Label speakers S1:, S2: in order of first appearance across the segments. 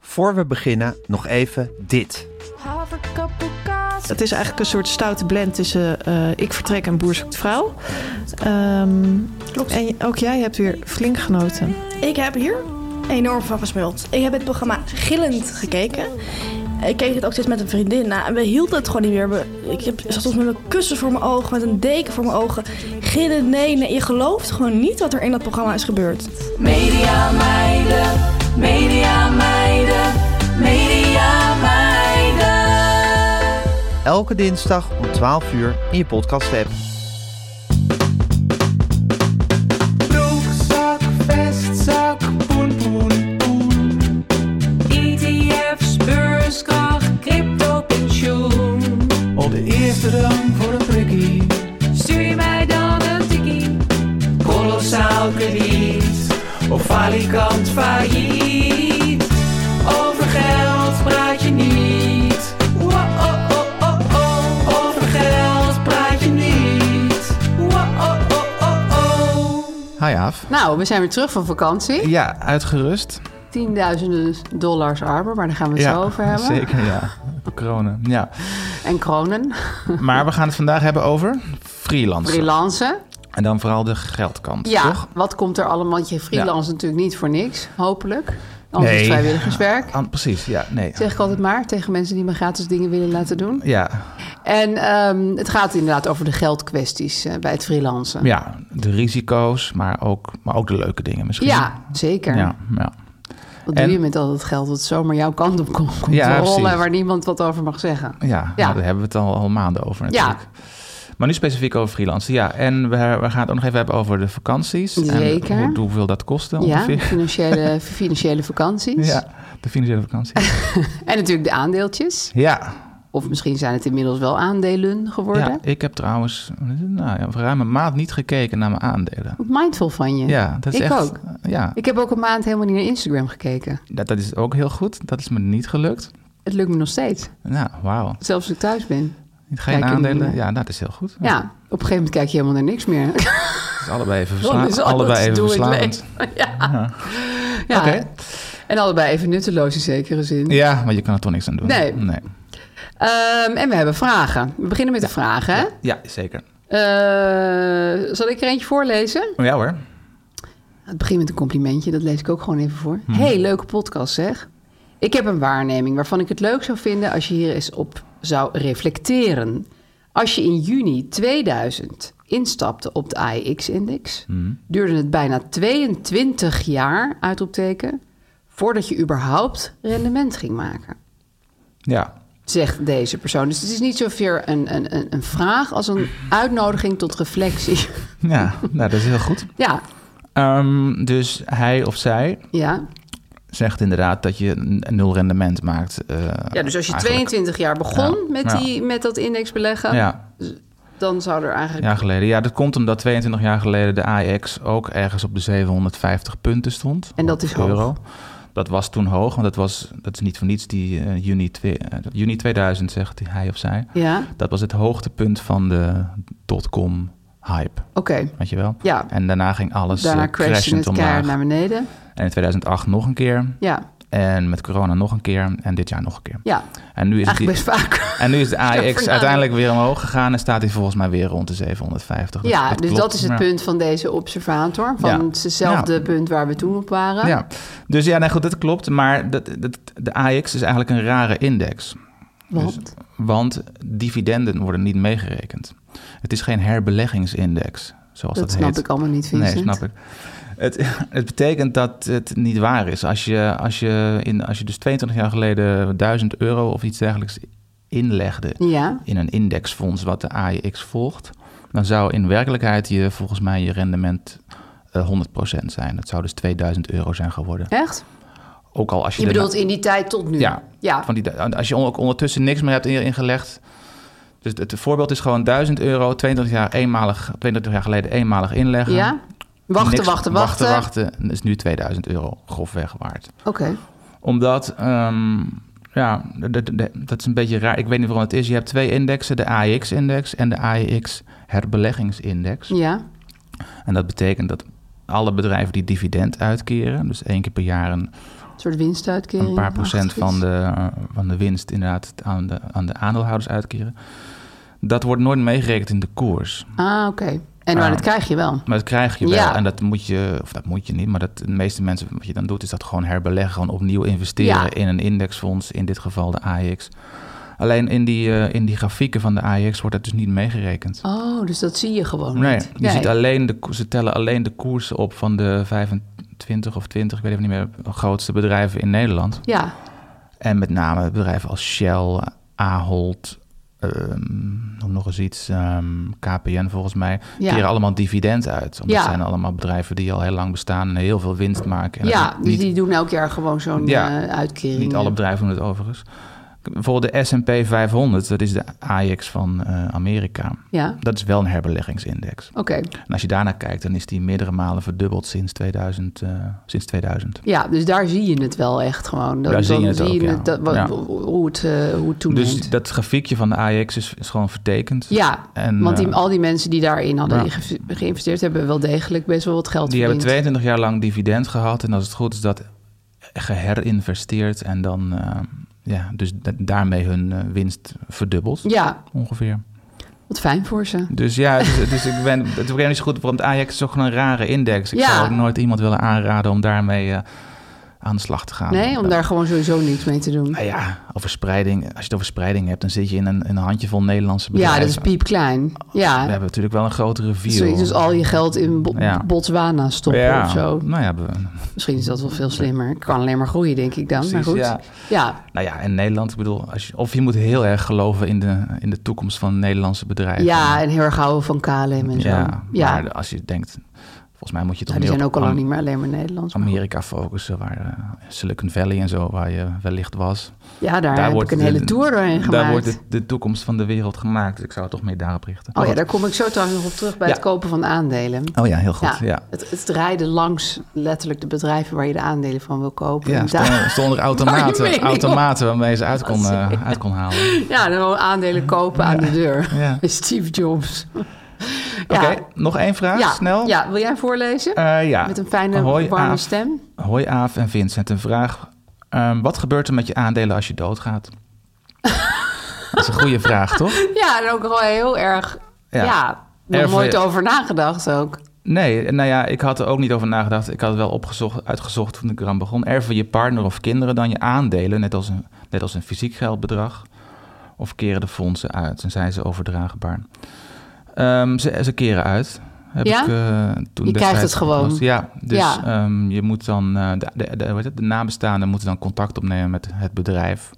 S1: Voor we beginnen, nog even dit.
S2: Haverkappelkaas.
S3: Het is eigenlijk een soort stoute blend tussen eh, Ik Vertrek en Boer Zoekt Vrouw. Ehm,
S4: Klopt.
S3: En ook jij hebt weer flink genoten.
S4: Ik heb hier enorm van gesmuld. Ik heb het programma gillend gekeken. Ik keek het ook steeds met een vriendin na. En we hielden het gewoon niet meer. We- Ik heb, zat soms met een kussen voor mijn ogen, met een deken voor mijn ogen. Gillen, nee, nee. Je gelooft gewoon niet wat er in dat programma is gebeurd.
S2: Media meiden, media meiden, media meiden.
S1: Elke dinsdag om 12 uur in je podcast app.
S5: Broekzak, vestzak, poen, poen, poen. E
S2: ETF's, beurskracht, crypto, pensioen.
S5: Op de eerste rang voor een prikkie.
S2: Stuur je mij dan een tikkie?
S5: Kolossaal krediet. Of falikant failliet. Over geld praat je niet. Wa-oh-oh-oh-oh. Over geld praat je niet. Wa-oh-oh-oh-oh.
S6: Hi Aaf.
S7: Nou, we zijn weer terug van vakantie.
S6: Ja, uitgerust.
S7: Tienduizenden dollars armen, maar daar gaan we het
S6: ja,
S7: zo over hebben.
S6: Zeker, ja. Corona, ja.
S7: En kronen,
S6: Maar we gaan het vandaag hebben over freelancen.
S7: freelancen.
S6: En dan vooral de geldkant,
S7: Ja,
S6: toch?
S7: wat komt er allemaal? Want je freelance natuurlijk niet voor niks, hopelijk. Anders is het
S6: Nee.
S7: vrijwilligerswerk.
S6: An- Ah, precies, ja, nee.
S7: Zeg ik altijd maar tegen mensen die me gratis dingen willen laten doen.
S6: Ja,
S7: En ehm, het gaat inderdaad over de geldkwesties eh, bij het freelancen.
S6: ja, de risico's, maar ook, maar ook de leuke dingen misschien.
S7: Ja, zeker.
S6: Ja, ja.
S7: Wat doe
S6: En-
S7: je met al dat geld dat zomaar jouw kant op komt, komt
S6: Ja,
S7: te rollen...
S6: precies.
S7: waar niemand wat over mag zeggen?
S6: Ja, nou, daar hebben we het al, al maanden over natuurlijk. Maar nu specifiek over freelancen, ja. En we, we gaan het ook nog even hebben over de vakanties.
S7: Zeker.
S6: En hoe, hoeveel dat kostte
S7: Ja,
S6: ongeveer.
S7: financiële, financiële vakanties.
S6: Ja, de financiële vakantie.
S7: En natuurlijk de aandeeltjes.
S6: ja,
S7: Of misschien zijn het inmiddels wel aandelen geworden.
S6: Ja, ik heb trouwens nou, ja, voor ruim een maand niet gekeken naar mijn aandelen.
S7: Mindful van je.
S6: Ja, dat is
S7: ik
S6: echt.
S7: ook.
S6: Ja,
S7: Ik heb ook een maand helemaal niet naar Instagram gekeken.
S6: dat, dat is ook heel goed. Dat is me niet gelukt.
S7: Het lukt me nog steeds.
S6: Nou, wauw.
S7: Zelfs als ik thuis ben.
S6: Geen
S7: Kijk,
S6: aandelen.
S7: een-
S6: Ja, nou, dat is heel goed.
S7: Ja, op een gegeven moment kijk je helemaal naar niks meer.
S6: Dat is allebei even,
S7: Dan
S6: versla
S7: is alles
S6: allebei even
S7: doe ik
S6: verslavend.
S7: leeg. Ja. Ja.
S6: Oké.
S7: En allebei even nutteloos in zekere zin.
S6: Ja, maar je kan er toch niks aan doen.
S7: Nee. Ehm, en we hebben vragen. We beginnen met de vragen. hè?
S6: Ja, zeker.
S7: Eh, zal ik er eentje voorlezen?
S6: Oh, Ja hoor.
S7: Het begint met een complimentje, dat lees ik ook gewoon even voor. Hey, leuke podcast zeg. Ik heb een waarneming waarvan ik het leuk zou vinden als je hier eens op zou reflecteren. Als je in juni 2000 instapte op de AIX-index, duurde het bijna 22 jaar, uitroepteken, voordat je überhaupt rendement ging maken.
S6: Ja.
S7: Zegt deze persoon. Dus het is niet zozeer een, een, een- een vraag als een uitnodiging tot reflectie.
S6: Ja, nou, dat is heel goed.
S7: ja,
S6: Ehm, dus hij of zij
S7: ja.
S6: zegt inderdaad dat je een nul rendement maakt. eh,
S7: Ja, dus als je
S6: eigenlijk.
S7: 22 jaar begon
S6: Ja,
S7: met,
S6: ja.
S7: die, met dat index beleggen,
S6: Ja,
S7: dan zou er eigenlijk...
S6: jaar geleden. Ja, dat komt omdat 22 jaar geleden de AEX ook ergens op de 750 punten stond.
S7: En dat
S6: Op
S7: is hoog.
S6: Dat was toen hoog, want dat, was, dat is niet voor niets die eh, juni, twee, eh, juni 2000, zegt die hij of zij.
S7: Ja,
S6: Dat was het hoogtepunt van de dotcom hype,
S7: oké.
S6: weet je wel?
S7: Ja.
S6: En daarna ging alles
S7: Daarna
S6: eh, crashend
S7: crashte het keihard
S6: omlaag.
S7: naar beneden.
S6: En in 2008 nog een keer.
S7: Ja,
S6: En met corona nog een keer. En dit jaar nog een keer.
S7: Ja,
S6: En nu is
S7: eigenlijk
S6: het,
S7: best vaak.
S6: En nu is de AEX
S7: voornamelijk.
S6: uiteindelijk weer omhoog gegaan. En staat hij volgens mij weer rond de 750. Dat-
S7: ja, dus
S6: klopt,
S7: dat is het
S6: maar-
S7: punt van deze observator. Van
S6: Ja.
S7: hetzelfde
S6: Ja.
S7: punt waar we toen op waren.
S6: Ja, dus ja, nee, goed, dat klopt. Maar dat, dat, de AX is eigenlijk een rare index.
S7: Want?
S6: dus want dividenden worden niet meegerekend. Het is geen herbeleggingsindex, zoals dat,
S7: Dat snap
S6: heet.
S7: ik allemaal niet,
S6: Nee,
S7: Vincent.
S6: snap ik. Het, het betekent dat het niet waar is. Als je, als, je in, als je dus 22 jaar geleden 1000 euro of iets dergelijks inlegde
S7: Ja.
S6: in een indexfonds wat de AEX volgt, dan zou in werkelijkheid je volgens mij je rendement eh, 100% zijn. Dat zou dus 2000 euro zijn geworden.
S7: Echt?
S6: Ook al als je
S7: Je
S6: de-
S7: bedoelt in die tijd tot nu?
S6: Ja,
S7: Ja.
S6: Van die, nou, als je on- ook ondertussen niks meer hebt in- ingelegd. Dus het voorbeeld is gewoon 1000 euro, 22 jaar, eenmalig, 22 jaar geleden eenmalig inleggen.
S7: Ja? Wachten,
S6: Niks-
S7: wachten,
S6: wachten.
S7: wachten.
S6: wachten. is nu 2000 euro grofweg waard.
S7: Oké.
S6: Omdat, ehm, ja, d- d- d- dat is een beetje raar. Ik weet niet waarom het is. Je hebt twee indexen, de AEX-index en de AEX herbeleggingsindex.
S7: Ja.
S6: En dat betekent dat alle bedrijven die dividend uitkeren, dus één keer per jaar een
S7: Een soort winstuitkering.
S6: een paar procent
S7: Achtig
S6: van
S7: iets.
S6: de, van de winst inderdaad aan de, aan de aandeelhouders uitkeren. Dat wordt nooit meegerekend in de koers.
S7: Ah, oké. En maar
S6: Ah.
S7: dat krijg je wel.
S6: Maar dat krijg je wel.
S7: Ja.
S6: En dat moet je, of dat moet je niet, maar dat, de meeste mensen, wat je dan doet, is dat gewoon herbeleggen. Gewoon opnieuw investeren
S7: Ja.
S6: in een indexfonds, in dit geval de AEX. Alleen in die, eh, in die grafieken van de AEX wordt dat dus niet meegerekend.
S7: Oh, dus dat zie je gewoon
S6: Nee,
S7: niet.
S6: je ziet alleen de, ko- ze tellen alleen de koersen op van de 25 of 20, ik weet even niet meer, grootste bedrijven in Nederland.
S7: Ja,
S6: En met name bedrijven als Shell, Ahold, ehm, noem nog eens iets, ehm, KPN volgens mij,
S7: Ja.
S6: keren allemaal dividend uit. Want
S7: Ja.
S6: dat zijn allemaal bedrijven die al heel lang bestaan en heel veel winst maken. En
S7: ja
S6: dat
S7: dus
S6: niet,
S7: die doen elk jaar gewoon zo'n
S6: Ja.
S7: eh, uitkering.
S6: niet alle bedrijven doen het overigens. Bijvoorbeeld de S&P 500, dat is de AIX van eh, Amerika.
S7: Ja.
S6: Dat is wel een herbeleggingsindex.
S7: Oké.
S6: En als je daarnaar kijkt, dan is die meerdere malen verdubbeld sinds 2000. eh, sinds 2000.
S7: Ja, dus daar zie je het wel echt gewoon. Dan,
S6: Daar zie
S7: dan
S6: je het ook, ja.
S7: dat- wat-
S6: Ja.
S7: hoe het, eh, hoe het toeneemt.
S6: Dus dat grafiekje van de AIX is, is gewoon vertekend.
S7: ja,
S6: En,
S7: want die,
S6: eh,
S7: al die mensen die daarin hadden
S6: ja.
S7: inge- geïnvesteerd... hebben wel degelijk best wel wat geld
S6: Die hebben
S7: verdiend.
S6: 22 jaar lang dividend gehad. En als het goed is, dat geherinvesteerd. En dan, eh, ja, dus da- daarmee hun eh, winst verdubbeld.
S7: Ja.
S6: Ongeveer.
S7: Wat fijn voor ze.
S6: Dus ja, dus, dus ik ben het begrijp niet zo goed. Want Ajax is toch gewoon een rare index. Ik
S7: Ja.
S6: zou ook nooit iemand willen aanraden om daarmee eh, aan de slag te gaan.
S7: Nee, om
S6: Dat-
S7: daar gewoon sowieso niks mee te doen.
S6: ja, over spreiding. Als je het over spreiding hebt, dan zit je in een, in een handjevol Nederlandse bedrijven.
S7: Ja, dat is piepklein.
S6: We
S7: Ja,
S6: hebben natuurlijk wel een grotere view.
S7: zoiets als al je geld in Bo-
S6: Ja.
S7: Botswana stoppen
S6: ja.
S7: of zo.
S6: Nou ja, we-
S7: Misschien is dat wel veel slimmer. Ik kan alleen maar groeien, denk ik dan. maar
S6: Precies,
S7: goed.
S6: ja.
S7: ja,
S6: Nou ja, in Nederland, ik bedoel, als je, of je moet heel erg geloven in de, in de toekomst van Nederlandse bedrijven.
S7: Ja, en heel erg houden van KLM en zo. Ja,
S6: ja, maar als je denkt, volgens mij moet je toch
S7: Nou, die
S6: meer
S7: zijn ook
S6: op
S7: al lang
S6: Am-
S7: niet meer alleen maar Nederlands. maar
S6: Amerika focussen, waar eh, Silicon Valley en zo, waar je wellicht was.
S7: goed. Ja, daar, heb ik
S6: wordt
S7: een
S6: de-
S7: hele tour doorheen gemaakt.
S6: Daar wordt de, de toekomst van de wereld gemaakt. Dus ik zou het toch meer daarop richten.
S7: Oh ja, daar kom ik zo trouwens nog op terug bij
S6: Ja.
S7: het kopen van aandelen.
S6: Oh ja, heel goed, ja.
S7: Het, het rijden langs letterlijk de bedrijven waar je de aandelen van wil kopen.
S6: ja,
S7: En daar-
S6: stonden, stonden er
S7: Waar je
S6: automaten,
S7: mee-
S6: automaten waarmee ze uit kon, eh, uit kon halen.
S7: Ja, en dan gewoon aandelen kopen aan de deur.
S6: Ja.
S7: Steve Jobs.
S6: Oké, nog één vraag,
S7: ja.
S6: snel.
S7: Ja, wil jij voorlezen?
S6: Eh, ja.
S7: Met een fijne,
S6: Hoi,
S7: warme
S6: Aaf.
S7: stem.
S6: Hoi Aaf en Vincent, een vraag. Ehm, wat gebeurt er met je aandelen als je doodgaat? dat is een goede vraag, toch?
S7: Ja, en ook wel heel erg... Ja,
S6: Ja.
S7: nog
S6: Erg-
S7: nooit over nagedacht ook.
S6: Nee, nou ja, ik had er ook niet over nagedacht. Ik had het wel opgezocht, uitgezocht toen ik eraan begon. Erven je partner of kinderen dan je aandelen, net als een, net als een fysiek geldbedrag? Of keren de fondsen uit en zijn ze overdraagbaar? Ehm, ze, ze keren uit. Heb
S7: Ja?
S6: ik, eh, toen
S7: Je krijgt
S6: destijds
S7: het gewoon.
S6: opgelost. Ja, dus
S7: Ja.
S6: ehm, je moet dan, eh, de, de, de, hoe heet het? de nabestaanden moeten dan contact opnemen met het bedrijf.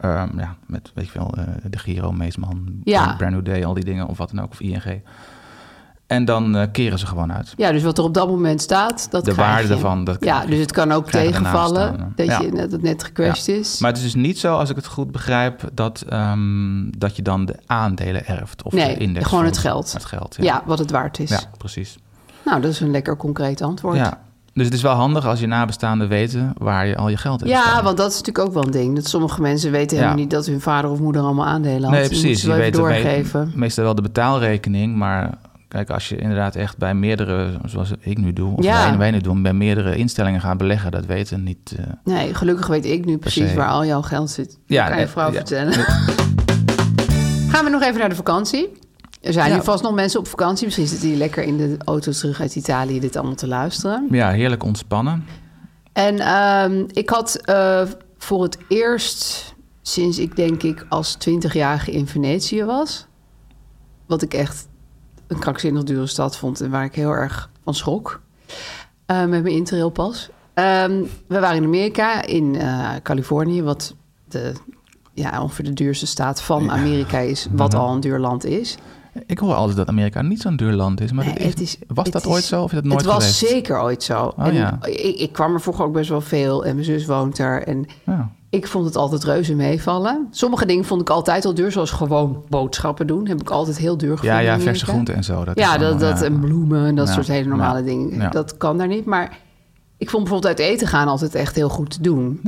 S6: Ehm, ja, met, weet ik veel, eh, de Giro, Meesman,
S7: Ja.
S6: Brand New Day, al die dingen of wat dan ook, of ING. En dan eh, keren ze gewoon uit.
S7: Ja, dus wat er op dat moment staat, dat
S6: De
S7: krijg
S6: waarde
S7: je.
S6: daarvan, dat krijg
S7: ja,
S6: je.
S7: dus het kan ook
S6: Krijg je daarnaast
S7: tegenvallen
S6: dan,
S7: dat
S6: ja.
S7: je net, dat net gecrashed
S6: Ja.
S7: is.
S6: Maar het is dus niet zo, als ik het goed begrijp, dat, ehm, dat je dan de aandelen erft. Of
S7: nee,
S6: de index.
S7: gewoon
S6: van-
S7: het geld.
S6: Het geld,
S7: ja.
S6: ja.
S7: wat het waard is.
S6: Ja, precies.
S7: Nou, dat is een lekker concreet antwoord.
S6: Ja. Dus het is wel handig als je nabestaanden weten waar je al je geld in
S7: Ja,
S6: staan.
S7: want dat is natuurlijk ook wel een ding. Dat sommige mensen weten
S6: Ja.
S7: helemaal niet dat hun vader of moeder allemaal aandelen had.
S6: Nee,
S7: Die moeten
S6: precies.
S7: ze
S6: Je
S7: wel
S6: weet
S7: even
S6: het me-
S7: doorgeven.
S6: meestal wel de betaalrekening, maar Kijk, als je inderdaad echt bij meerdere, zoals ik nu doe, of
S7: Ja.
S6: wij, wij nu doen, bij meerdere instellingen gaat beleggen, dat weten niet. eh,
S7: Nee, gelukkig weet ik nu precies
S6: se.
S7: waar al jouw geld zit.
S6: Ja,
S7: Ja, kan je
S6: eh,
S7: vrouw
S6: ja.
S7: vertellen. Gaan we nog even naar de vakantie. Er zijn
S6: Ja.
S7: nu vast nog mensen op vakantie. Misschien zitten die lekker in de auto's terug uit Italië dit allemaal te luisteren.
S6: ja, heerlijk ontspannen.
S7: En ehm, ik had eh, voor het eerst sinds ik denk ik als 20-jarige in Venetië was. Wat ik echt een krankzinnig dure stad vond en waar ik heel erg van schrok. eh, met mijn interrailpas. Ehm, we waren in Amerika, in eh, Californië, wat de, ja, ongeveer de duurste staat van Amerika is, wat
S6: Mhm.
S7: al een duur land is.
S6: Ik hoor altijd dat Amerika niet zo'n duur land is, maar
S7: Nee,
S6: dat is-
S7: het is-
S6: was
S7: het
S6: dat
S7: is-
S6: ooit zo of is dat nooit
S7: Het was
S6: geweest?
S7: zeker ooit zo.
S6: Oh,
S7: en
S6: ja.
S7: ik, ik kwam er vroeger ook best wel veel en mijn zus woont daar. En
S6: Ja.
S7: ik vond het altijd reuze meevallen. Sommige dingen vond ik altijd al duur, zoals gewoon boodschappen doen. Heb ik altijd heel duur gevonden.
S6: Ja, ja,
S7: in
S6: verse
S7: Amerika.
S6: groenten en zo. Dat
S7: ja,
S6: is
S7: dat,
S6: allemaal,
S7: dat,
S6: ja.
S7: en bloemen en dat
S6: Ja,
S7: soort hele normale
S6: ja,
S7: dingen.
S6: ja.
S7: Dat kan daar niet. Maar ik vond bijvoorbeeld uit eten gaan altijd echt heel goed te doen.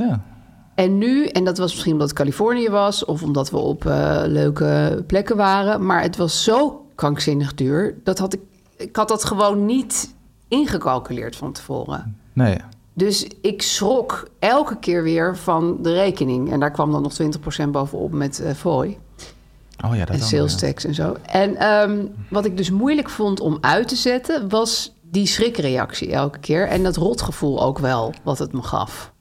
S7: En nu, en dat was misschien omdat het Californië was... of omdat we op eh, leuke plekken waren... maar het was zo krankzinnig duur... dat had ik, ik had dat gewoon niet ingecalculeerd van tevoren.
S6: Nee, Oh
S7: Dus ik schrok elke keer weer van de rekening. En daar kwam dan nog 20% bovenop met eh fooi
S6: oh ja, dat
S7: en
S6: dan,
S7: sales
S6: ja.
S7: tax en zo. En ehm, wat ik dus moeilijk vond om uit te zetten... was die schrikreactie elke keer. En dat rotgevoel ook wel, wat het me gaf.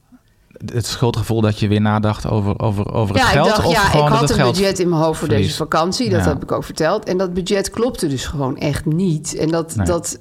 S6: Het schuldgevoel dat je weer nadacht over, over, over
S7: ja,
S6: het geld
S7: ik dacht,
S6: of
S7: ja,
S6: gewoon
S7: ik
S6: dat
S7: had
S6: het
S7: een
S6: geld
S7: budget in mijn hoofd voor
S6: verliest.
S7: deze vakantie. Dat
S6: Ja.
S7: heb ik ook verteld. En dat budget klopte dus gewoon echt niet. En dat,
S6: Nee.
S7: dat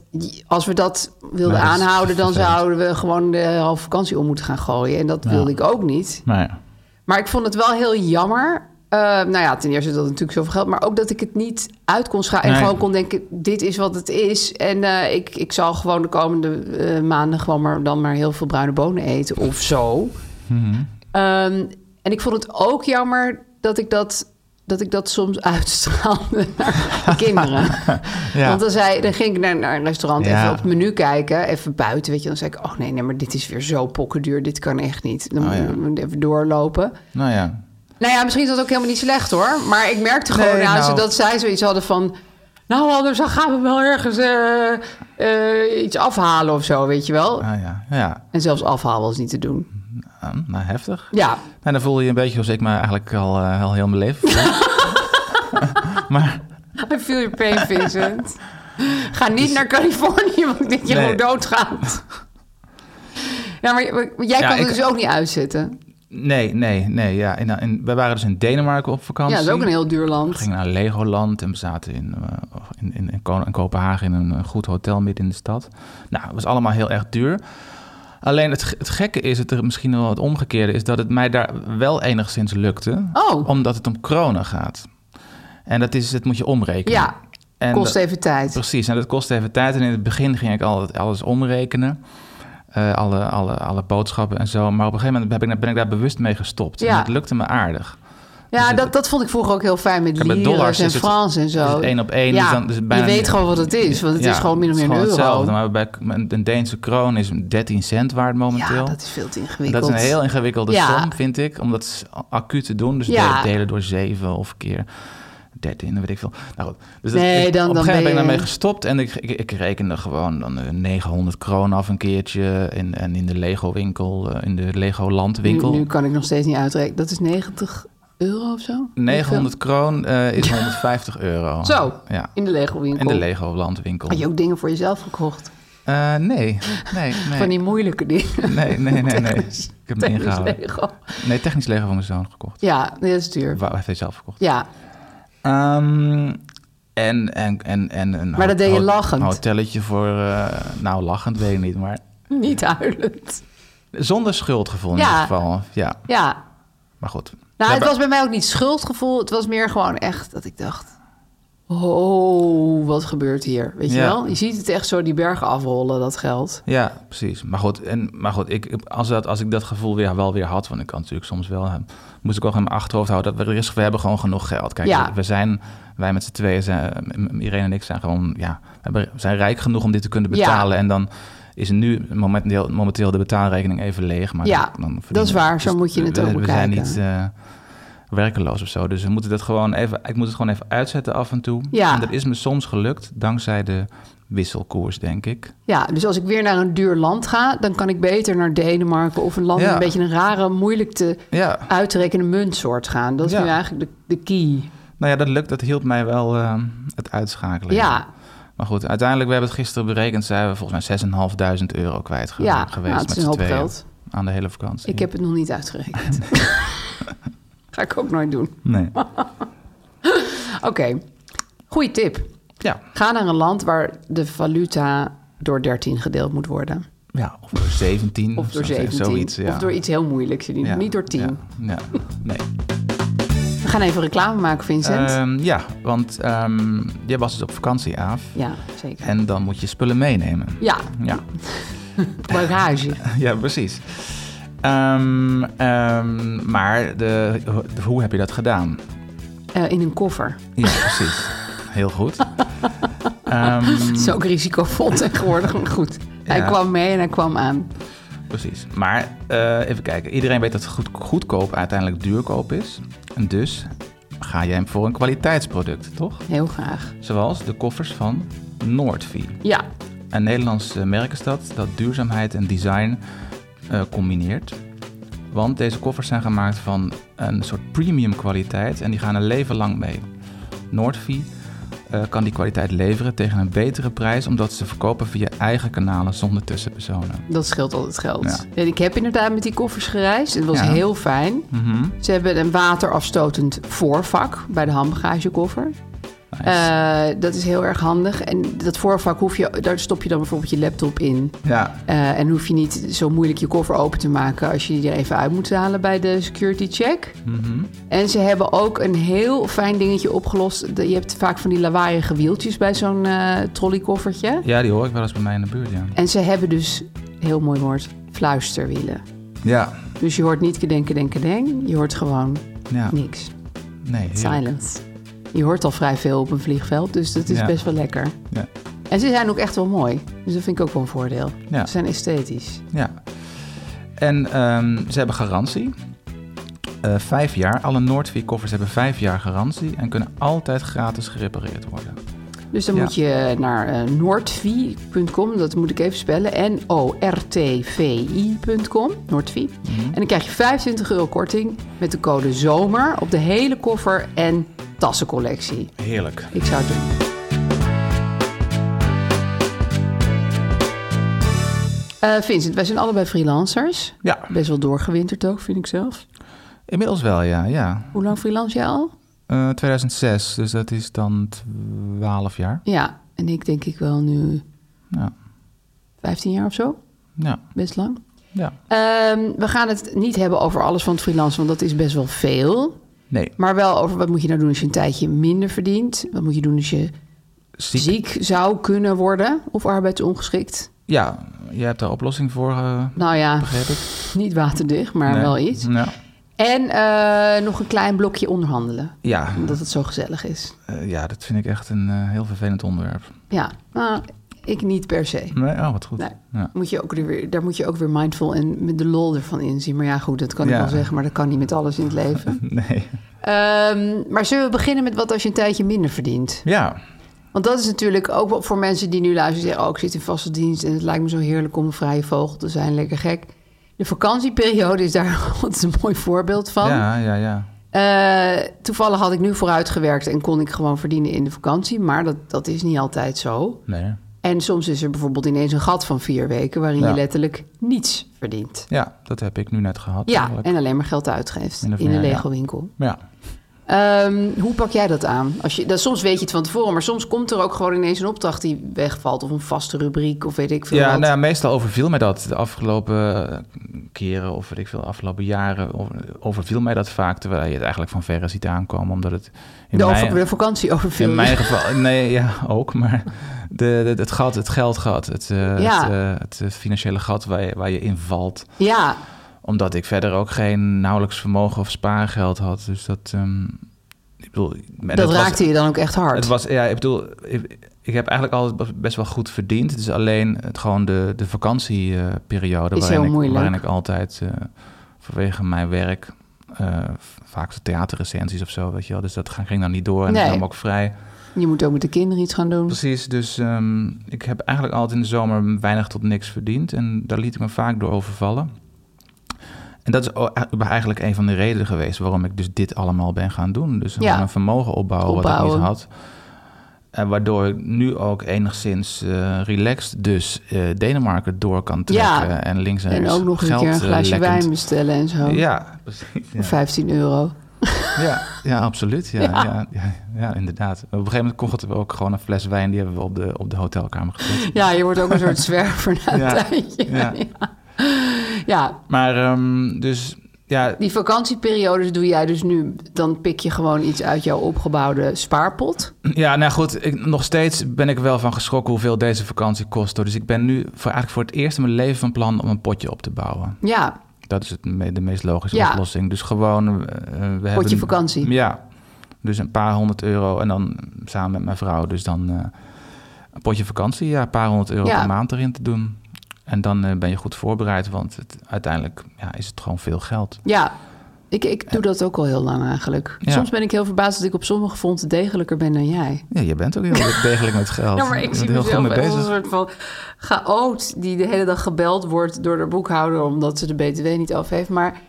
S7: als we dat wilden
S6: Nee, dat is
S7: aanhouden, dan
S6: vervelend.
S7: zouden we gewoon de halve vakantie om moeten gaan gooien. En dat
S6: Ja.
S7: wilde ik ook niet.
S6: Nou ja.
S7: Maar ik vond het wel heel jammer. Eh, nou ja, ten eerste dat het natuurlijk zoveel geld, maar ook dat ik het niet uit kon schrijven. En
S6: Nee.
S7: gewoon kon denken: dit is wat het is. En eh, ik, ik zal gewoon de komende eh, maanden gewoon maar, dan maar heel veel bruine bonen eten of zo.
S6: Mhm.
S7: Ehm, en ik vond het ook jammer dat ik dat, dat, ik dat soms uitstraalde naar de kinderen.
S6: Ja.
S7: Want dan, zei, dan ging ik naar, naar een restaurant
S6: Ja.
S7: even op het menu kijken, even buiten. Weet je, dan zei ik, oh nee, nee, maar dit is weer zo pokkenduur, dit kan echt niet. Dan
S6: Oh, ja.
S7: moet ik even doorlopen.
S6: Nou ja.
S7: Nou ja, misschien is dat ook helemaal niet slecht hoor. Maar ik merkte gewoon
S6: Nee,
S7: aan ze
S6: nou.
S7: dat zij zoiets hadden van... Nou, anders dan gaan we wel ergens eh, eh, iets afhalen of zo, weet je wel.
S6: Ah, ja, ja.
S7: En zelfs afhalen was niet te doen.
S6: Ah, nou, heftig.
S7: Ja,
S6: En dan voel je je een beetje zoals ik me eigenlijk al, eh, al heel mijn leven voel.
S7: I feel your pain, Vincent. Dus- Ga niet naar Californië, want ik denk je
S6: Nee.
S7: gewoon doodgaat. Ja, maar, maar jij
S6: Ja,
S7: kan het
S6: ik-
S7: dus ook niet uitzetten.
S6: Nee, nee, nee. Ja. En, dan- en we waren dus in Denemarken op vakantie.
S7: Ja, dat is ook een heel duur land.
S6: We gingen naar Legoland en we zaten in, eh, in, in, in Ko- in Kopenhagen in een eh, goed hotel midden in de stad. Nou, het was allemaal heel erg duur. Alleen het, ge- het gekke is, het er misschien wel het omgekeerde is, dat het mij daar wel enigszins lukte.
S7: Oh.
S6: Omdat het om kronen gaat. En dat, is, dat moet je omrekenen.
S7: Ja,
S6: En
S7: kost
S6: dat-
S7: even tijd.
S6: Precies, en dat kost even tijd. En in het begin ging ik altijd alles omrekenen. Eh, alle, alle, alle boodschappen en zo. Maar op een gegeven moment ben ik, ben ik daar bewust mee gestopt.
S7: Ja.
S6: En dat lukte me aardig.
S7: Ja, dat, dat vond ik vroeger ook heel fijn met
S6: Dus Ja, met
S7: dollars
S6: dollars
S7: en
S6: is het-
S7: Frans en zo.
S6: is het één op één,
S7: Ja,
S6: dus dan- dus bijna
S7: je weet
S6: niet-
S7: gewoon wat het is, want het
S6: Ja,
S7: is gewoon min of meer een
S6: het
S7: euro.
S6: is gewoon Hetzelfde, maar bij een Deense kroon is 13 cent waard momenteel.
S7: Ja, dat is veel te
S6: En
S7: ingewikkeld.
S6: dat is een heel ingewikkelde
S7: Ja.
S6: som, vind ik. Om dat s- acuut te doen. Dus
S7: Ja.
S6: delen- delen door 7 of keer 13, dan weet ik veel. Nou goed. Dus
S7: Nee,
S6: ik,
S7: dan-
S6: op een
S7: dan ben
S6: gegeven moment ben ik
S7: je-
S6: daarmee gestopt. En ik, ik, ik rekende gewoon dan eh, 900 kroon af een keertje. En, en in de Lego winkel, eh, in de Lego landwinkel.
S7: Nu, nu kan ik nog steeds niet uitrekenen. Dat is 90 euro of zo?
S6: 900 kroon eh, is 150 euro.
S7: Zo,
S6: Ja.
S7: in de Lego winkel.
S6: In de Lego landwinkel.
S7: Had je ook dingen voor jezelf gekocht?
S6: Eh, nee, nee, nee.
S7: Van die moeilijke dingen.
S6: Nee, nee, nee, nee.
S7: Technisch-
S6: Ik heb hem
S7: technisch
S6: ingehouden.
S7: Lego.
S6: Nee, technisch Lego van mijn zoon gekocht.
S7: Ja, nee, dat is duur.
S6: Wou- Hij heeft hij zelf gekocht.
S7: Ja,
S6: Ehm, en, en, en, en een
S7: Maar dat deed je
S6: hot-
S7: lachend.
S6: Een hotelletje voor, eh, nou lachend weet ik niet, maar
S7: niet huilend.
S6: zonder schuldgevoel in
S7: Ja.
S6: ieder geval. Ja,
S7: Ja,
S6: maar goed.
S7: nou, het
S6: Daarbij-
S7: was bij mij ook niet schuldgevoel. Het was meer gewoon echt dat ik dacht... Oh, wat gebeurt hier? Weet je
S6: Ja.
S7: wel? Je ziet het echt zo die bergen afrollen, dat geld.
S6: Ja, precies. Maar goed, en, maar goed ik, als, dat, als ik dat gevoel weer, wel weer had, want ik kan natuurlijk soms wel, hè, moest ik ook in mijn achterhoofd houden dat we, er is, we hebben gewoon genoeg geld. Kijk,
S7: Ja.
S6: we zijn, wij met z'n tweeën, zijn, eh, m- Irene en ik zijn gewoon, ja, we hebben- we zijn rijk genoeg om dit te kunnen
S7: Ja.
S6: betalen. En dan is nu momenteel, momenteel de betaalrekening even leeg. Maar
S7: Ja,
S6: dan verdienen
S7: dat is waar.
S6: we-
S7: Zo moet je het
S6: we,
S7: ook
S6: we zijn
S7: bekijken.
S6: niet, eh, werkeloos of zo. Dus we moeten dat gewoon even, ik moet het gewoon even uitzetten af en toe.
S7: Ja.
S6: En dat is me soms gelukt dankzij de wisselkoers, denk ik.
S7: Ja, dus als ik weer naar een duur land ga, dan kan ik beter naar Denemarken of een land met
S6: Ja.
S7: een beetje een rare, moeilijk te
S6: Ja.
S7: uitrekenen muntsoort gaan. Dat is
S6: Ja.
S7: nu eigenlijk de, de key.
S6: Nou ja, dat lukt. Dat hielp mij wel ehm, het uitschakelen.
S7: Ja.
S6: Maar goed, uiteindelijk, we hebben het gisteren berekend, zijn we volgens mij 6.500 euro kwijt ge-
S7: Ja,
S6: geweest.
S7: nou, het is
S6: met
S7: een
S6: z'n
S7: hoop
S6: tweeën
S7: geld.
S6: Aan de hele vakantie.
S7: Ik heb het nog niet uitgerekend. Ga ik ook nooit doen.
S6: Nee.
S7: Oké, goede tip.
S6: Ja.
S7: Ga naar een land waar de valuta door 13 gedeeld moet worden.
S6: Ja, of door 17.
S7: Of door
S6: zo-
S7: 17.
S6: Zoiets, ja.
S7: Of door iets heel moeilijks.
S6: Ja,
S7: Niet door 10.
S6: Ja, nee.
S7: We gaan even reclame maken, Vincent.
S6: Ehm, ja, want ehm, jij was dus op vakantie, Aaf.
S7: ja, zeker.
S6: En dan moet je spullen meenemen.
S7: Ja,
S6: Ja,
S7: bagage.
S6: ja precies. Ehm, ehm, maar de, ho- hoe heb je dat gedaan?
S7: Eh, in een koffer.
S6: Ja, precies. Heel goed. Ehm,
S7: Het is ook risicovol tegenwoordig, maar goed. Hij
S6: Ja.
S7: kwam mee en hij kwam aan.
S6: Precies. Maar eh, even kijken. Iedereen weet dat goed, goedkoop uiteindelijk duurkoop is. En dus ga jij hem voor een kwaliteitsproduct, toch?
S7: Heel graag.
S6: Zoals de koffers van Noordvie.
S7: Ja,
S6: Een Nederlands eh, merk is dat, dat duurzaamheid en design eh, combineert. Want deze koffers zijn gemaakt van een soort premium kwaliteit en die gaan een leven lang mee. Noordvie eh, kan die kwaliteit leveren tegen een betere prijs, omdat ze verkopen via eigen kanalen zonder tussenpersonen.
S7: dat scheelt altijd geld.
S6: Ja.
S7: En ik heb inderdaad met die koffers gereisd. Het was
S6: Ja.
S7: heel fijn.
S6: Mhm.
S7: Ze hebben een waterafstotend voorvak bij de handbagagekoffer. Eh, dat is heel erg handig. En dat voorvak hoef je, daar stop je dan bijvoorbeeld je laptop in.
S6: Ja,
S7: Eh, en hoef je niet zo moeilijk je koffer open te maken als je die er even uit moet halen bij de security check.
S6: Mhm.
S7: En ze hebben ook een heel fijn dingetje opgelost. De- Je hebt vaak van die lawaaiige wieltjes bij zo'n eh, trolleykoffertje.
S6: ja die hoor ik wel eens bij mij in de buurt, ja.
S7: En ze hebben dus, heel mooi woord, fluisterwielen.
S6: Ja,
S7: Dus je hoort niet kedenken, denken, denk. Je hoort gewoon
S6: ja.
S7: niks.
S6: nee. heerlijk.
S7: Silence. Je hoort al vrij veel op een vliegveld, dus dat is
S6: Ja.
S7: best wel lekker.
S6: Ja.
S7: En ze zijn ook echt wel mooi. Dus dat vind ik ook wel een voordeel.
S6: Ja.
S7: Ze zijn esthetisch.
S6: Ja. En ehm, ze hebben garantie. Eh, vijf jaar. Alle Noordvie koffers hebben vijf jaar garantie en kunnen altijd gratis gerepareerd worden.
S7: Dus dan
S6: Ja.
S7: moet je naar eh, noordvi.com, dat moet ik even spellen, oh, N-O-R-T-V-I.com, Noordvi. En dan krijg je 25 euro korting met de code ZOMER op de hele koffer en tassencollectie.
S6: Heerlijk.
S7: Ik zou het doen. Eh, Vincent, wij zijn allebei freelancers.
S6: Ja,
S7: Best wel doorgewinterd ook, vind ik zelf.
S6: inmiddels wel, ja. ja.
S7: Hoe lang freelance jij al?
S6: Eh, 2006, dus dat is dan 12 jaar.
S7: Ja, en ik denk ik wel nu
S6: Ja,
S7: 15 jaar of zo.
S6: ja,
S7: Best lang.
S6: ja.
S7: Ehm, we gaan het niet hebben over alles van het freelance, want dat is best wel veel.
S6: Nee,
S7: Maar wel over wat moet je nou doen als je een tijdje minder verdient? Wat moet je doen als je
S6: ziek.
S7: ziek, zou kunnen worden of arbeidsongeschikt?
S6: Ja, jij hebt daar oplossing voor, eh,
S7: Nou ja,
S6: begreep ik.
S7: niet waterdicht, maar
S6: Nee.
S7: wel iets.
S6: Ja,
S7: En eh, nog een klein blokje onderhandelen,
S6: ja,
S7: omdat het zo gezellig is.
S6: eh, ja dat vind ik echt een eh, heel vervelend onderwerp.
S7: Ja, nou, ik niet per se.
S6: Nee, oh, wat goed.
S7: Nee.
S6: Ja.
S7: Moet je ook weer, daar moet je ook weer mindful en met de lol ervan inzien. Maar ja, goed, dat kan ik
S6: Ja.
S7: wel zeggen, maar dat kan niet met alles in het leven.
S6: Nee.
S7: Ehm, maar zullen we beginnen met wat als je een tijdje minder verdient?
S6: Ja,
S7: Want dat is natuurlijk ook wel voor mensen die nu luisteren... zeggen, oh, ik zit in vaste dienst en het lijkt me zo heerlijk om een vrije vogel te zijn. Lekker gek. De vakantieperiode is daar dat is een mooi voorbeeld van.
S6: ja, ja, ja.
S7: Eh, toevallig had ik nu vooruitgewerkt en kon ik gewoon verdienen in de vakantie. Maar dat, dat is niet altijd zo.
S6: Nee.
S7: En soms is er bijvoorbeeld ineens een gat van vier weken... waarin
S6: Ja.
S7: je letterlijk niets verdient.
S6: Ja, dat heb ik nu net gehad.
S7: Ja,
S6: eigenlijk.
S7: en alleen maar geld uitgeeft
S6: Min of
S7: in de
S6: meer, ja.
S7: lego winkel.
S6: Ja,
S7: Ehm, hoe pak jij dat aan? Als je, dat, soms weet je het van tevoren, maar soms komt er ook gewoon ineens een opdracht die wegvalt. Of een vaste rubriek, of weet ik veel
S6: ja
S7: wat.
S6: nou, ja, meestal overviel mij dat de afgelopen eh, keren of weet ik veel, de afgelopen jaren over- overviel mij dat vaak. Terwijl je het eigenlijk van verre ziet aankomen, omdat het in
S7: de,
S6: mijn,
S7: over, de vakantie overviel
S6: in
S7: je.
S6: mijn geval, nee, ja, ook, maar de, de- het gat, het geldgat, het, eh,
S7: Ja.
S6: het, eh, het, eh, financiële gat waar je, waar je in valt.
S7: Ja,
S6: Omdat ik verder ook geen nauwelijks vermogen of spaargeld had. Dus dat, ehm, ik bedoel, en
S7: dat,
S6: het was-
S7: raakte je dan ook echt hard.
S6: het was, ja, ik bedoel, ik, ik heb eigenlijk altijd best wel goed verdiend. Het is alleen het, gewoon de, de vakantieperiode
S7: Is heel
S6: waarin, ik-
S7: moeilijk.
S6: waarin ik altijd eh, vanwege mijn werk eh, eh, v- vaak zo theaterrecensies of zo, weet je wel. Dus dat ging dan niet door en
S7: Nee.
S6: dat kwam ook vrij.
S7: Je moet ook met de kinderen iets gaan doen.
S6: Precies, dus ehm, ik heb eigenlijk altijd in de zomer weinig tot niks verdiend. En daar liet ik me vaak door overvallen. En dat is o- e, eigenlijk een van de redenen geweest waarom ik dus dit allemaal ben gaan doen. Dus
S7: Ja.
S6: een vermogen opbouwen, wat ik
S7: Opbouwen.
S6: niet had. En waardoor ik nu ook enigszins eh, relaxed dus eh, Denemarken door kan trekken.
S7: Ja.
S6: En links en,
S7: En
S6: rechts
S7: ook nog een
S6: geld,
S7: keer een
S6: eh,
S7: glaasje
S6: lekkend.
S7: wijn bestellen en zo.
S6: Ja, precies.
S7: Voor
S6: ja.
S7: 15 euro.
S6: Ja, ja absoluut. Ja,
S7: Ja.
S6: ja. Ja, ja, inderdaad. Op een gegeven moment kochten we ook gewoon een fles wijn. Die hebben we op de, op de hotelkamer gezet.
S7: Ja, je wordt ook een soort zwerver na een
S6: Ja,
S7: tijdje. Ja.
S6: ja. Maar ehm, dus ja,
S7: die vakantieperiodes doe jij dus nu. Dan pik je gewoon iets uit jouw opgebouwde spaarpot.
S6: ja, nou goed. Ik, nog steeds ben ik wel van geschrokken hoeveel deze vakantie kost. hoor. Dus ik ben nu voor, eigenlijk voor het eerst in mijn leven van plan om een potje op te bouwen.
S7: Ja,
S6: Dat is het, me- de meest logische
S7: Ja.
S6: oplossing. Dus gewoon... eh, eh, we
S7: potje
S6: hebben,
S7: vakantie.
S6: Ja, dus een paar honderd euro. En dan samen met mijn vrouw. Dus dan eh, een potje vakantie. Ja, een paar honderd euro
S7: Ja.
S6: per maand erin te doen. En dan eh, ben je goed voorbereid. Want het, uiteindelijk ja, is het gewoon veel geld.
S7: Ja, ik, ik doe dat ook al heel lang eigenlijk.
S6: Ja.
S7: Soms ben ik heel verbaasd dat ik op sommige fronten degelijker ben dan jij.
S6: Ja, je bent ook heel degelijk met geld.
S7: Ja, maar ik
S6: Je
S7: zie
S6: bent heel
S7: mezelf
S6: goed mee
S7: echt als
S6: bezig.
S7: een soort van chaot die de hele dag gebeld wordt door de boekhouder omdat ze de BTW niet af heeft. Maar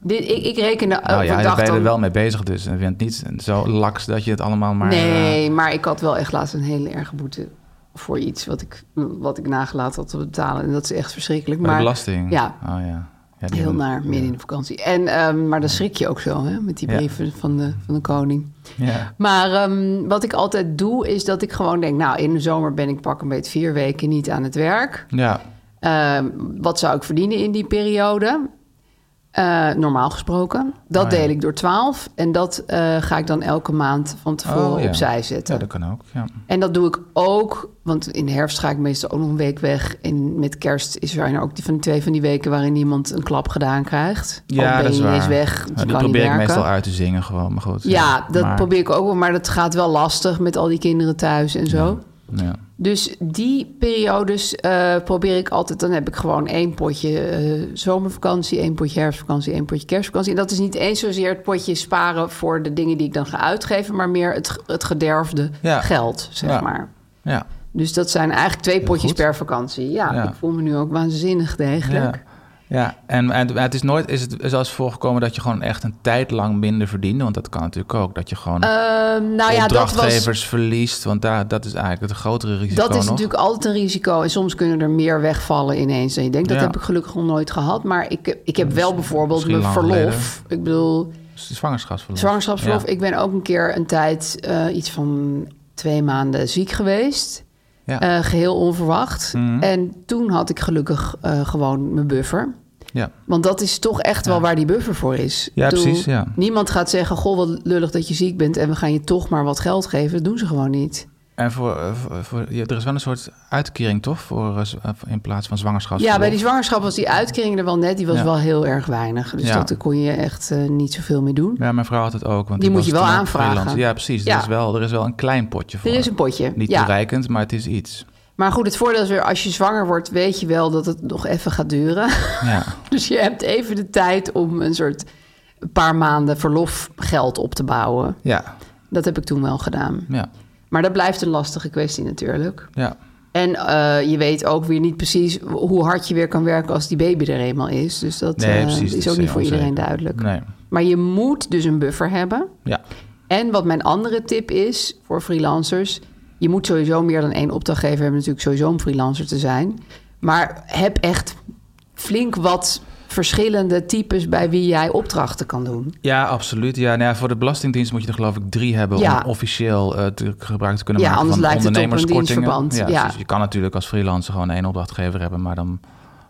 S7: dit, ik, ik rekende
S6: Nou ja, daar
S7: overdag
S6: ben je er
S7: dan-
S6: wel mee bezig dus. En je bent niet zo laks dat je het allemaal maar... eh,
S7: nee, maar ik had wel echt laatst een hele erge boete voor iets wat ik, wat ik nagelaten had te betalen. En dat is echt verschrikkelijk.
S6: maar,
S7: Maar
S6: de belasting.
S7: Ja,
S6: Oh, ja. Ja, die-
S7: heel naar, midden in de vakantie. En, ehm, maar dan schrik je ook zo hè, met die
S6: Ja.
S7: brieven van, de, van de koning.
S6: Ja.
S7: Maar ehm, wat ik altijd doe, is dat ik gewoon denk... nou, in de zomer ben ik pak een beetje vier weken niet aan het werk.
S6: ja,
S7: Ehm, wat zou ik verdienen in die periode? Eh, normaal gesproken. Dat
S6: Oh, ja.
S7: deel ik door 12. En dat eh, ga ik dan elke maand van tevoren
S6: Oh, ja.
S7: opzij
S6: ja,
S7: zetten.
S6: dat kan ook. Ja.
S7: En dat doe ik ook, want in de herfst ga ik meestal ook nog een week weg. En met kerst is er ook die van die twee van die weken waarin niemand een klap gedaan krijgt. Ook
S6: ja
S7: ben
S6: dat is
S7: je
S6: waar.
S7: ineens weg.
S6: Ja,
S7: want je
S6: dat
S7: kan niet
S6: probeer ik
S7: werken.
S6: meestal uit te zingen gewoon, maar goed. eh,
S7: Ja, dat
S6: maar-
S7: probeer ik ook wel, maar dat gaat wel lastig met al die kinderen thuis en zo.
S6: Ja.
S7: Dus die periodes eh, probeer ik altijd. Dan heb ik gewoon één potje eh, zomervakantie, één potje herfstvakantie, één potje kerstvakantie. En dat is niet eens zozeer het potje sparen voor de dingen die ik dan ga uitgeven, maar meer het, het gederfde
S6: Ja.
S7: geld, zeg
S6: Ja.
S7: maar.
S6: Ja.
S7: Dus dat zijn eigenlijk twee potjes
S6: goed.
S7: per vakantie. Ja,
S6: Ja.
S7: ik voel me nu ook waanzinnig degelijk.
S6: Ja. Ja, en, en het is nooit, is het zelfs voorgekomen dat je gewoon echt een tijd lang minder verdiende, want dat kan natuurlijk ook, dat je gewoon
S7: Ehm, nou ja, dat was,
S6: opdrachtgevers verliest, want daar, dat is eigenlijk het grotere risico
S7: Dat is
S6: nog.
S7: natuurlijk altijd een risico. En soms kunnen er meer wegvallen ineens. En je denkt, dat
S6: Ja.
S7: heb ik gelukkig nog nooit gehad. Maar ik, ik heb wel bijvoorbeeld
S6: misschien
S7: mijn
S6: lang
S7: verlof.
S6: geleden.
S7: Ik bedoel,
S6: Dus Zwangerschapsverlof.
S7: zwangerschapsverlof.
S6: Ja.
S7: Ik ben ook een keer een tijd, eh, iets van twee maanden ziek geweest.
S6: Ja.
S7: Eh, geheel onverwacht.
S6: Mhm.
S7: En toen had ik gelukkig eh, gewoon mijn buffer.
S6: Ja.
S7: Want dat is toch echt wel waar die buffer voor is.
S6: Ja,
S7: Ik bedoel,
S6: precies, ja.
S7: Niemand gaat zeggen, goh, wat lullig dat je ziek bent... en we gaan je toch maar wat geld geven. Dat doen ze gewoon niet.
S6: En voor, eh, voor, voor- ja, er is wel een soort uitkering, toch? Voor, eh, z- eh, in plaats van zwangerschapsverlof.
S7: Ja, bij die zwangerschap was die uitkering er wel net. Die was
S6: Ja.
S7: wel heel erg weinig. Dus
S6: Ja.
S7: dat kon je echt eh, niet zoveel mee doen.
S6: Ja, mijn vrouw had het ook. Want
S7: Die moet
S6: was
S7: je wel
S6: toen ook
S7: aanvragen.
S6: freelance. Ja, precies.
S7: Ja.
S6: Er, is wel, er is wel een klein potje voor.
S7: Er is een potje.
S6: Niet
S7: ja.
S6: toereikend, maar het is iets.
S7: Maar goed, het voordeel is weer als je zwanger wordt, weet je wel dat het nog even gaat duren.
S6: Ja,
S7: dus je hebt even de tijd om een soort paar maanden verlofgeld op te bouwen.
S6: ja,
S7: Dat heb ik toen wel gedaan.
S6: ja.
S7: Maar dat blijft een lastige kwestie natuurlijk.
S6: ja.
S7: En eh, je weet ook weer niet precies hoe hard je weer kan werken als die baby er eenmaal is. Dus dat
S6: Nee,
S7: eh,
S6: precies.
S7: is
S6: Dat
S7: ook niet
S6: eh,
S7: voor iedereen
S6: onzeker.
S7: duidelijk.
S6: Nee.
S7: Maar je moet dus een buffer hebben.
S6: Ja,
S7: En wat mijn andere tip is voor freelancers... je moet sowieso meer dan één opdrachtgever hebben... natuurlijk sowieso om freelancer te zijn. Maar heb echt flink wat verschillende types... bij wie jij opdrachten kan doen.
S6: ja absoluut. Ja, nou ja, voor de Belastingdienst moet je er geloof ik drie hebben
S7: Ja.
S6: om officieel eh, te, gebruik te kunnen
S7: Ja,
S6: maken
S7: anders
S6: van
S7: lijkt het op een
S6: ondernemerskortingen.
S7: dienstverband. Ja.
S6: precies. Je kan natuurlijk als freelancer gewoon één opdrachtgever hebben, maar dan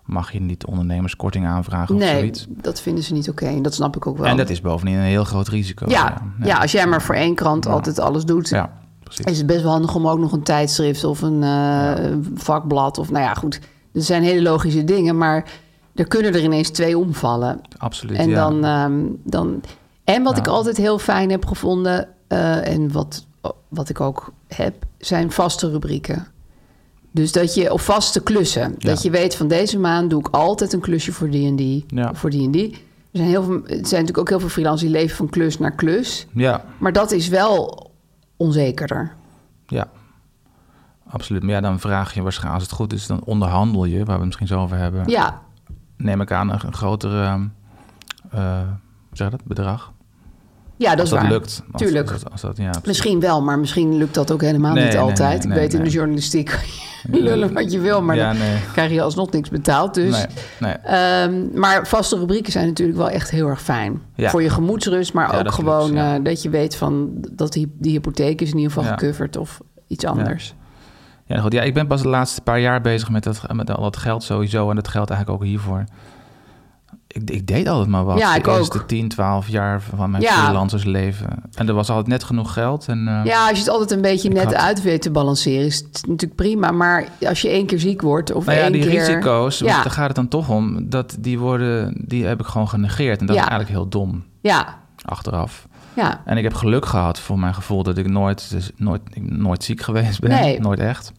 S6: mag je niet ondernemerskorting aanvragen of
S7: nee,
S6: zoiets.
S7: dat vinden ze niet oké. En dat snap ik ook wel.
S6: En dat is bovendien een heel groot risico.
S7: ja, ja. als jij maar voor één krant altijd alles doet...
S6: Ja, precies.
S7: is het best wel handig om ook nog een tijdschrift of een eh, vakblad... of nou ja, goed, er zijn hele logische dingen... maar er kunnen er ineens twee omvallen.
S6: Absoluut.
S7: En
S6: ja.
S7: dan, ehm, dan. En wat
S6: Ja.
S7: ik altijd heel fijn heb gevonden. eh, en wat, wat ik ook heb. zijn vaste rubrieken. Dus dat je. of vaste klussen. Dat je weet van deze maand doe ik altijd een klusje voor die en die.
S6: Ja.
S7: Voor die en die. Er zijn, heel veel, er zijn natuurlijk ook heel veel freelancers die leven van klus naar klus.
S6: Ja,
S7: Maar dat is wel onzekerder.
S6: ja. Absoluut. Maar ja, dan vraag je waarschijnlijk, als het goed is, dan onderhandel je, waar we het misschien zo over hebben.
S7: Ja,
S6: Neem ik aan een, een grotere, ehm, eh, hoe zeg je dat, bedrag.
S7: ja dat
S6: als
S7: is
S6: dat
S7: waar.
S6: lukt. Als-
S7: Tuurlijk.
S6: Als, dat- als dat, ja, precies.
S7: Misschien wel, maar misschien lukt dat ook helemaal
S6: Nee,
S7: niet
S6: nee,
S7: altijd.
S6: nee,
S7: Ik weet, in
S6: nee.
S7: de journalistiek kan je lullen wat je wil, maar
S6: ja,
S7: dan
S6: nee.
S7: krijg je alsnog niks betaald. Dus.
S6: Nee, nee.
S7: Ehm, maar vaste rubrieken zijn natuurlijk wel echt heel erg fijn.
S6: Ja.
S7: Voor je gemoedsrust, maar
S6: Ja,
S7: ook
S6: dat is
S7: gewoon
S6: luxe, ja.
S7: eh, dat je weet van dat die, die hypotheek is in ieder geval
S6: Ja.
S7: gecoverd of iets anders.
S6: Ja, goed. ja, ik ben pas de laatste paar jaar bezig met, dat, met al dat geld sowieso. En dat geldt eigenlijk ook hiervoor. Ik, ik deed altijd maar wat.
S7: Ja, ik
S6: de
S7: ook.
S6: eerste 10, 12 jaar van mijn
S7: Ja.
S6: freelancersleven. En er was altijd net genoeg geld. En, eh,
S7: Ja, als je het altijd een beetje net
S6: had-
S7: uit weet te balanceren, is het natuurlijk prima. Maar als je één keer ziek wordt of
S6: nou ja,
S7: één
S6: die
S7: keer...
S6: risico's, want
S7: Ja,
S6: daar gaat het dan toch om. Dat, die, worden, die heb ik gewoon genegeerd. En dat
S7: Ja.
S6: is eigenlijk heel dom,
S7: ja,
S6: achteraf.
S7: ja.
S6: En ik heb geluk gehad voor mijn gevoel dat ik nooit, dus nooit, ik nooit ziek geweest ben.
S7: Nee.
S6: Nooit echt.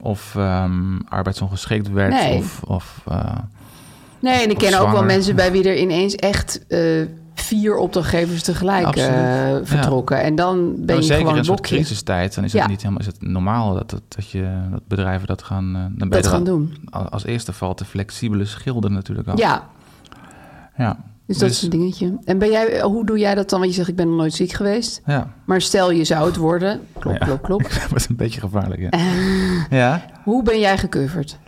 S6: Of ehm, arbeidsongeschikt werd.
S7: Nee.
S6: Of, of eh,
S7: Nee, en ik
S6: Of
S7: ken ook wel
S6: zwanger.
S7: mensen bij wie er ineens echt eh, vier opdrachtgevers tegelijk
S6: Absoluut.
S7: eh,
S6: Ja.
S7: vertrokken. En dan ben
S6: Nou,
S7: je
S6: zeker
S7: gewoon
S6: in
S7: een
S6: een soort
S7: bokje
S6: crisistijd, dan is het
S7: Ja.
S6: niet helemaal is het normaal dat, dat, dat, je, dat bedrijven dat gaan, eh, dan ben
S7: dat
S6: je er
S7: gaan
S6: al-
S7: doen.
S6: al- Als eerste valt de flexibele schilder natuurlijk al.
S7: Ja,
S6: ja.
S7: dus dat is een dingetje. En ben jij, hoe doe jij dat dan? Want je zegt, ik ben nog nooit ziek geweest.
S6: Ja,
S7: Maar stel, je zou het worden. Klop,
S6: Ja.
S7: klop, klop.
S6: dat wordt een beetje gevaarlijk. Ja. ja.
S7: Hoe ben jij gecoverd?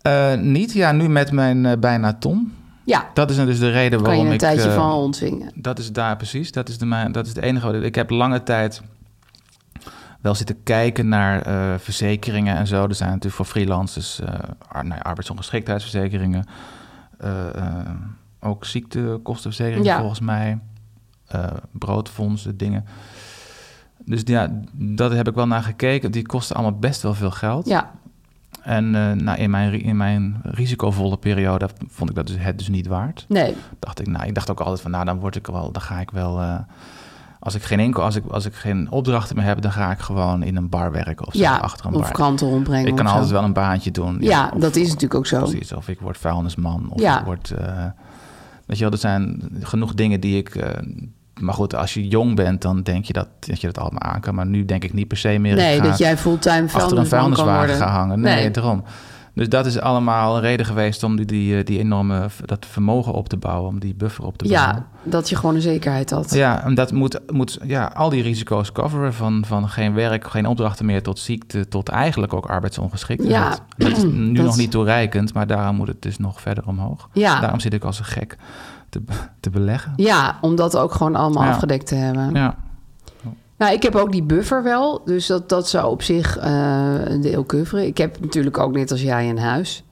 S6: Eh, niet, ja, nu met mijn eh, bijna ton.
S7: Ja,
S6: Dat is dus de reden
S7: kan je
S6: waarom
S7: een
S6: ik...
S7: tijdje
S6: eh,
S7: van ontzwingen.
S6: Dat is daar precies. Dat is, de, mijn- dat is het enige. wat ik- Ik heb lange tijd wel zitten kijken naar eh, verzekeringen en zo. Er zijn natuurlijk voor freelancers eh, ar- nou ja, arbeidsongeschiktheidsverzekeringen. eh, eh, ook ziektekostenverzekeringen
S7: Ja.
S6: volgens mij. eh broodfondsen, dingen. Dus ja, dat heb ik wel naar gekeken. Die kosten allemaal best wel veel geld.
S7: Ja,
S6: En eh, nou, in, mijn, ri- in mijn risicovolle periode vond ik dat dus, het dus niet waard
S7: nee.
S6: dacht ik, nou, ik dacht ook altijd van, nou, dan word ik wel, dan ga ik wel. eh, als ik geen enkel, als ik, als ik geen opdrachten meer heb, dan ga ik gewoon in een bar werken of zo,
S7: ja,
S6: achter een
S7: of
S6: bar.
S7: kranten rondbrengen.
S6: ik kan
S7: of zo.
S6: altijd wel een baantje doen.
S7: Ja,
S6: of-
S7: dat is natuurlijk ook zo.
S6: Precies, of ik word vuilnisman, of
S7: Ja.
S6: ik word. eh, weet je wel, er zijn genoeg dingen die ik. eh, maar goed, als je jong bent, dan denk je dat, dat je dat allemaal aan kan. Maar nu denk ik niet per se meer.
S7: Nee,
S6: ik ga
S7: dat jij fulltime
S6: achter een
S7: vuilnisman kan
S6: vuilniswagen
S7: worden.
S6: gaan hangen. Nee,
S7: Nee.
S6: daarom. Dus dat is allemaal een reden geweest om die, die, eh, die enorme, dat vermogen op te bouwen, om die buffer op te bouwen.
S7: Ja, dat je gewoon een zekerheid had.
S6: Ja, en dat moet, moet ja, al die risico's coveren. Van, van geen werk, geen opdrachten meer tot ziekte, tot eigenlijk ook arbeidsongeschiktheid.
S7: Ja.
S6: Dat is nu
S7: Dat-
S6: nog niet toereikend, maar daarom moet het dus nog verder omhoog. Dus
S7: Ja.
S6: Daarom zit ik als een gek te, te beleggen.
S7: Ja, om dat ook gewoon allemaal
S6: Ja.
S7: afgedekt te hebben.
S6: Ja,
S7: Nou, ik heb ook die buffer wel. Dus dat, dat zou op zich eh, een deel coveren. Ik heb natuurlijk ook net als jij een huis.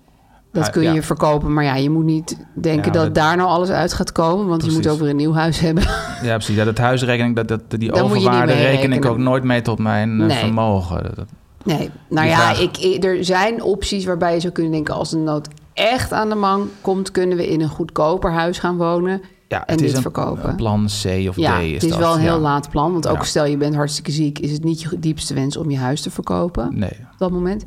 S7: Dat
S6: Ah,
S7: kun
S6: ja.
S7: je verkopen, maar ja, je moet niet denken
S6: Ja,
S7: dat,
S6: dat-
S7: daar nou alles uit gaat komen. Want je
S6: Precies.
S7: moet ook weer een nieuw huis hebben.
S6: ja precies. Ja, dat huisrekening, dat, dat, die
S7: Daar moet je niet
S6: overwaarde
S7: mee
S6: reken ik
S7: rekenen.
S6: ook nooit mee tot mijn eh,
S7: Nee.
S6: vermogen. Dat- dat-
S7: Nee, nou ja,
S6: Die vraag-
S7: ik, ik- er zijn opties waarbij je zou kunnen denken... als de nood echt aan de man komt... kunnen we in een goedkoper huis gaan wonen
S6: ja,
S7: en
S6: het is
S7: dit
S6: een
S7: verkopen.
S6: plan C of
S7: ja,
S6: D is
S7: het is
S6: dat,
S7: wel een heel
S6: ja.
S7: laat plan. Want ook
S6: Ja.
S7: stel je bent hartstikke ziek... is het niet je diepste wens om je huis te verkopen
S6: Nee,
S7: op dat moment.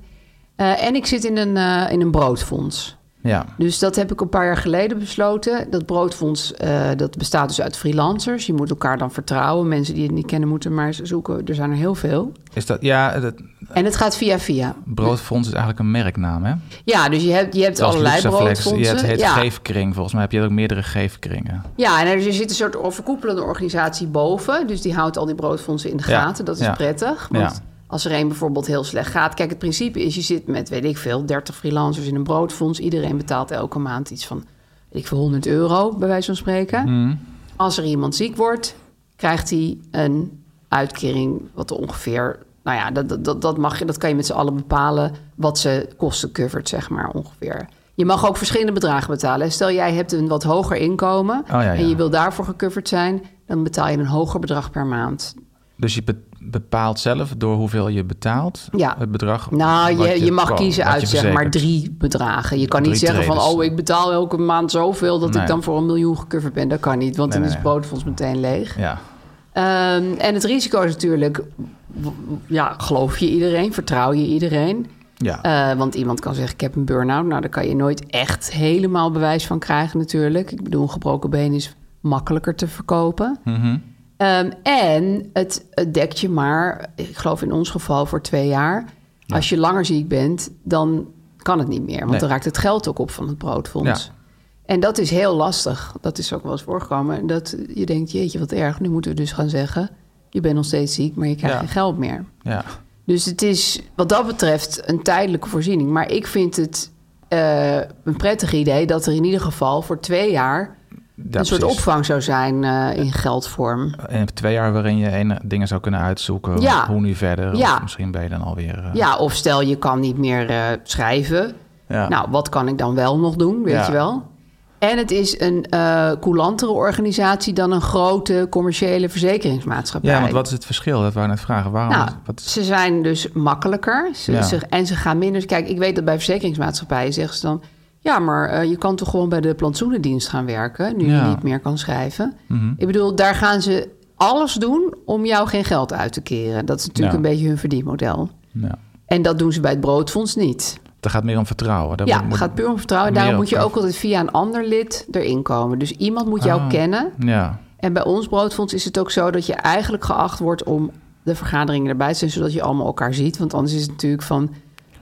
S7: Eh, en ik zit in een, eh, in een broodfonds.
S6: ja.
S7: Dus dat heb ik een paar jaar geleden besloten. Dat broodfonds eh, dat bestaat dus uit freelancers. Je moet elkaar dan vertrouwen. Mensen die het niet kennen moeten maar eens zoeken. Er zijn er heel veel.
S6: Is dat, ja, dat
S7: En het gaat via via.
S6: broodfonds is eigenlijk een merknaam, hè?
S7: Ja, dus je hebt, je hebt
S6: Zoals
S7: allerlei
S6: Luxaflex,
S7: broodfondsen.
S6: Je hebt het heet
S7: ja.
S6: geefkring, volgens mij heb je ook meerdere geefkringen.
S7: ja, en er zit een soort overkoepelende organisatie boven. Dus die houdt al die broodfondsen in de
S6: Ja,
S7: gaten. Dat is
S6: ja.
S7: prettig. Want
S6: Ja.
S7: als er één bijvoorbeeld heel slecht gaat... Kijk, het principe is, je zit met, weet ik veel, 30 freelancers in een broodfonds. Iedereen betaalt elke maand iets van, weet ik veel, 100 euro, bij wijze van spreken.
S6: Mhm.
S7: Als er iemand ziek wordt, krijgt hij een uitkering wat ongeveer... Nou ja, dat, dat- dat, dat, mag, je- dat kan je met z'n allen bepalen wat ze kosten covert, zeg maar ongeveer. Je mag ook verschillende bedragen betalen. hè. Stel, jij hebt een wat hoger inkomen
S6: Oh, ja, ja.
S7: en je wil daarvoor gecoverd zijn... dan betaal je een hoger bedrag per maand.
S6: Dus je be- bepaalt zelf door hoeveel je betaalt
S7: Ja.
S6: het bedrag.
S7: Nou,
S6: wat
S7: je, je mag
S6: ko-
S7: kiezen
S6: wat
S7: uit
S6: je
S7: zeg maar
S6: verzekert.
S7: drie bedragen. Je kan niet
S6: Drie
S7: zeggen van,
S6: traders.
S7: oh, ik betaal elke maand zoveel... dat
S6: Nee.
S7: ik dan voor een miljoen gecoverd ben. Dat kan niet, want dan
S6: Nee, nee,
S7: is het
S6: nee.
S7: broodfonds meteen leeg.
S6: Ja,
S7: Ehm, en het risico is natuurlijk, w- w- ja, geloof je iedereen, vertrouw je iedereen?
S6: Ja.
S7: Eh, want iemand kan zeggen, ik heb een burn-out. Nou, daar kan je nooit echt helemaal bewijs van krijgen natuurlijk. Ik bedoel, een gebroken been is makkelijker te verkopen.
S6: Mhm.
S7: Ehm, en het, het dekt je maar, ik geloof in ons geval, voor twee jaar. Als je langer ziek bent, dan kan het niet meer. Want
S6: Nee.
S7: dan raakt het geld ook op van het broodfonds.
S6: Ja.
S7: En dat is heel lastig. Dat is ook wel eens voorgekomen. Dat je denkt, jeetje, wat erg. Nu moeten we dus gaan zeggen, je bent nog steeds ziek, maar je krijgt
S6: Ja.
S7: geen geld meer.
S6: Ja.
S7: Dus het is wat dat betreft een tijdelijke voorziening. Maar ik vind het eh, een prettig idee dat er in ieder geval voor twee jaar... een soort
S6: precies.
S7: opvang zou zijn eh, in geldvorm.
S6: En twee jaar waarin je ene- dingen zou kunnen uitzoeken.
S7: Ja.
S6: Hoe nu verder?
S7: Ja.
S6: Of misschien ben je dan alweer... eh,
S7: Ja, of stel je kan niet meer eh, schrijven.
S6: Ja.
S7: Nou, wat kan ik dan wel nog doen, weet
S6: Ja.
S7: je wel? En het is een eh coulantere organisatie dan een grote commerciële verzekeringsmaatschappij.
S6: ja, want wat is het verschil? Dat wou ik net vragen. Waarom?
S7: Nou,
S6: wat is,
S7: ze zijn dus makkelijker ze,
S6: Ja.
S7: ze- en ze gaan minder... Kijk, ik weet dat bij verzekeringsmaatschappijen zeggen ze dan... Ja, maar eh, je kan toch gewoon bij de plantsoenendienst gaan werken... nu
S6: Ja.
S7: je niet meer kan schrijven.
S6: Mhm.
S7: Ik bedoel, daar gaan ze alles doen om jou geen geld uit te keren. Dat is natuurlijk
S6: Ja.
S7: een beetje hun verdienmodel.
S6: ja.
S7: En dat doen ze bij het Broodfonds niet.
S6: Dat gaat meer om vertrouwen. Daar
S7: ja,
S6: moet-
S7: het
S6: moet-
S7: gaat puur om vertrouwen.
S6: meer
S7: Daarom moet je
S6: elkaar-
S7: ook altijd via een ander lid erin komen. Dus iemand moet jou
S6: Ah,
S7: kennen.
S6: Ja,
S7: En bij ons Broodfonds is het ook zo dat je eigenlijk geacht wordt om de vergaderingen erbij te zijn, zodat je allemaal elkaar ziet. Want anders is het natuurlijk van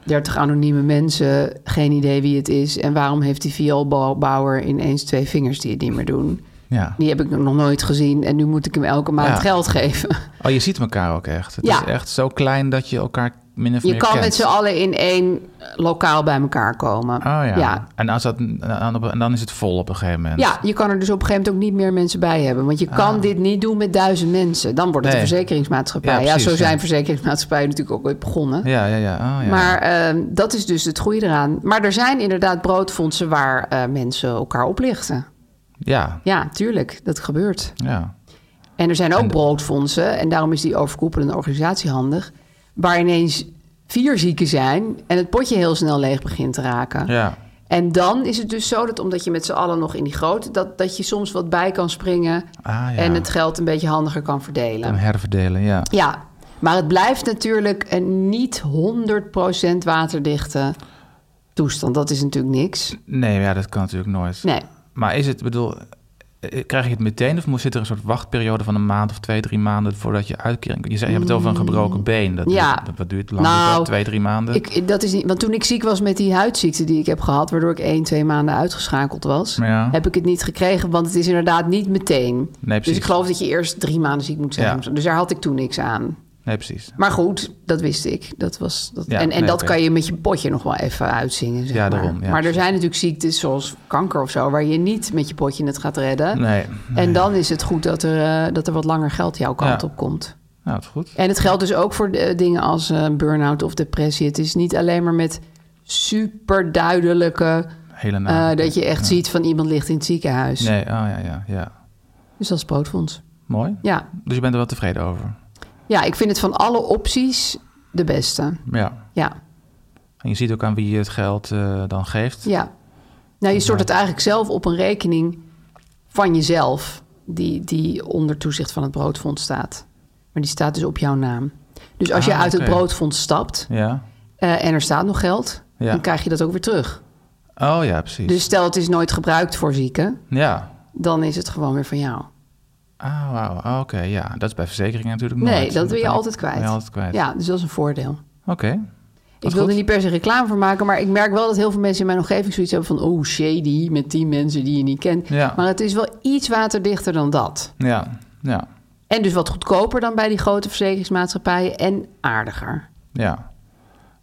S7: 30 anonieme mensen, geen idee wie het is. En waarom heeft die vioolbouwer ineens twee vingers die het niet meer doen?
S6: ja.
S7: Die heb ik nog nooit gezien en nu moet ik hem elke maand
S6: Ja.
S7: geld geven.
S6: Oh, je ziet elkaar ook echt. Het
S7: Ja.
S6: is echt zo klein dat je elkaar min of
S7: Je
S6: meer
S7: kan
S6: kent.
S7: met z'n allen in één lokaal bij elkaar komen.
S6: Oh ja.
S7: ja,
S6: En, als dat, en dan is het vol op een gegeven moment.
S7: Ja, je kan er dus op een gegeven moment ook niet meer mensen bij hebben. Want je kan dit niet doen met duizend mensen. Dan wordt het
S6: Ah. Nee.
S7: een verzekeringsmaatschappij.
S6: Ja,
S7: Ja,
S6: precies,
S7: zo zijn
S6: ja.
S7: verzekeringsmaatschappijen natuurlijk ook ooit begonnen.
S6: Ja, ja, ja. Oh, ja.
S7: Maar ehm, dat is dus het goede eraan. Maar er zijn inderdaad broodfondsen waar eh, mensen elkaar oplichten.
S6: ja.
S7: Ja, tuurlijk, dat gebeurt.
S6: Ja.
S7: En er zijn ook broodfondsen, en daarom is die overkoepelende organisatie handig, waar ineens vier zieken zijn en het potje heel snel leeg begint te raken.
S6: Ja.
S7: En dan is het dus zo dat omdat je met z'n allen nog in die grote... dat, dat je soms wat bij kan springen
S6: Ah, ja.
S7: en het geld een beetje handiger kan
S6: Dan
S7: verdelen.
S6: herverdelen, ja.
S7: Ja, maar het blijft natuurlijk een niet 100% waterdichte toestand. Dat is natuurlijk niks.
S6: Nee, ja, dat kan natuurlijk nooit.
S7: Nee.
S6: Maar is het, bedoel, eh, krijg je het meteen of moet- zit er een soort wachtperiode van een maand of twee, drie maanden voordat je uitkering... Je, zei, je hebt het over een gebroken been. Dat
S7: Mm, Ja.
S6: duurt, dat, wat duurt lang?
S7: Nou,
S6: Duurt dat twee, drie maanden?
S7: Ik, dat is niet, want toen ik ziek was met die huidziekte die ik heb gehad... waardoor ik één, twee maanden uitgeschakeld was...
S6: Ja.
S7: heb ik het niet gekregen, want het is inderdaad niet meteen. dus
S6: precies.
S7: ik geloof dat je eerst drie maanden ziek moet zijn.
S6: Ja.
S7: Dus daar had ik toen niks aan.
S6: Nee, precies.
S7: Maar goed, dat wist ik. Dat was, dat,
S6: Ja,
S7: en en
S6: nee,
S7: dat
S6: oké.
S7: kan je met je potje nog wel even uitzingen. Zeg
S6: Ja,
S7: maar.
S6: daarom, ja,
S7: maar er
S6: precies.
S7: zijn natuurlijk ziektes zoals kanker of zo, waar je niet met je potje het gaat redden.
S6: Nee. nee.
S7: En dan is het goed dat er, eh, dat er wat langer geld jouw kant
S6: Ja.
S7: op komt.
S6: Nou, dat is goed.
S7: En het geldt dus ook voor eh, dingen als eh, burn-out of depressie. Het is niet alleen maar met superduidelijke...
S6: Hele
S7: eh,
S6: naam.
S7: dat je echt
S6: Nou, Ja.
S7: ziet van iemand ligt in het ziekenhuis.
S6: Nee, oh ja, ja, ja.
S7: Dus dat is broodfonds.
S6: Mooi.
S7: Ja.
S6: Dus je bent er wel tevreden over?
S7: ja, ik vind het van alle opties de beste.
S6: Ja.
S7: Ja.
S6: En je ziet ook aan wie je het geld eh, dan geeft.
S7: Ja. Nou, je stort het eigenlijk zelf op een rekening van jezelf, die, die onder toezicht van het broodfonds staat. Maar die staat dus op jouw naam. Dus als je
S6: Ah,
S7: uit
S6: oké.
S7: het broodfonds stapt
S6: Ja.
S7: eh, en er staat nog geld,
S6: Ja.
S7: dan krijg je dat ook weer terug.
S6: Oh ja, precies.
S7: Dus stel het is nooit gebruikt voor zieken,
S6: Ja.
S7: dan is het gewoon weer van jou.
S6: Ah, wauw. Ah, Oké, ja. Dat is bij verzekeringen natuurlijk nooit.
S7: Nee, dat wil je
S6: ben ik-
S7: altijd
S6: ben je
S7: kwijt.
S6: altijd kwijt.
S7: Ja, dus dat is een voordeel.
S6: Oké.
S7: Ik
S6: Wat
S7: wil er
S6: goed.
S7: niet per se reclame voor maken, maar ik merk wel dat heel veel mensen in mijn omgeving zoiets hebben van, oh shady, met die mensen die je niet kent.
S6: Ja.
S7: Maar het is wel iets waterdichter dan dat.
S6: Ja. Ja.
S7: En dus wat goedkoper dan bij die grote verzekeringsmaatschappijen en aardiger.
S6: Ja.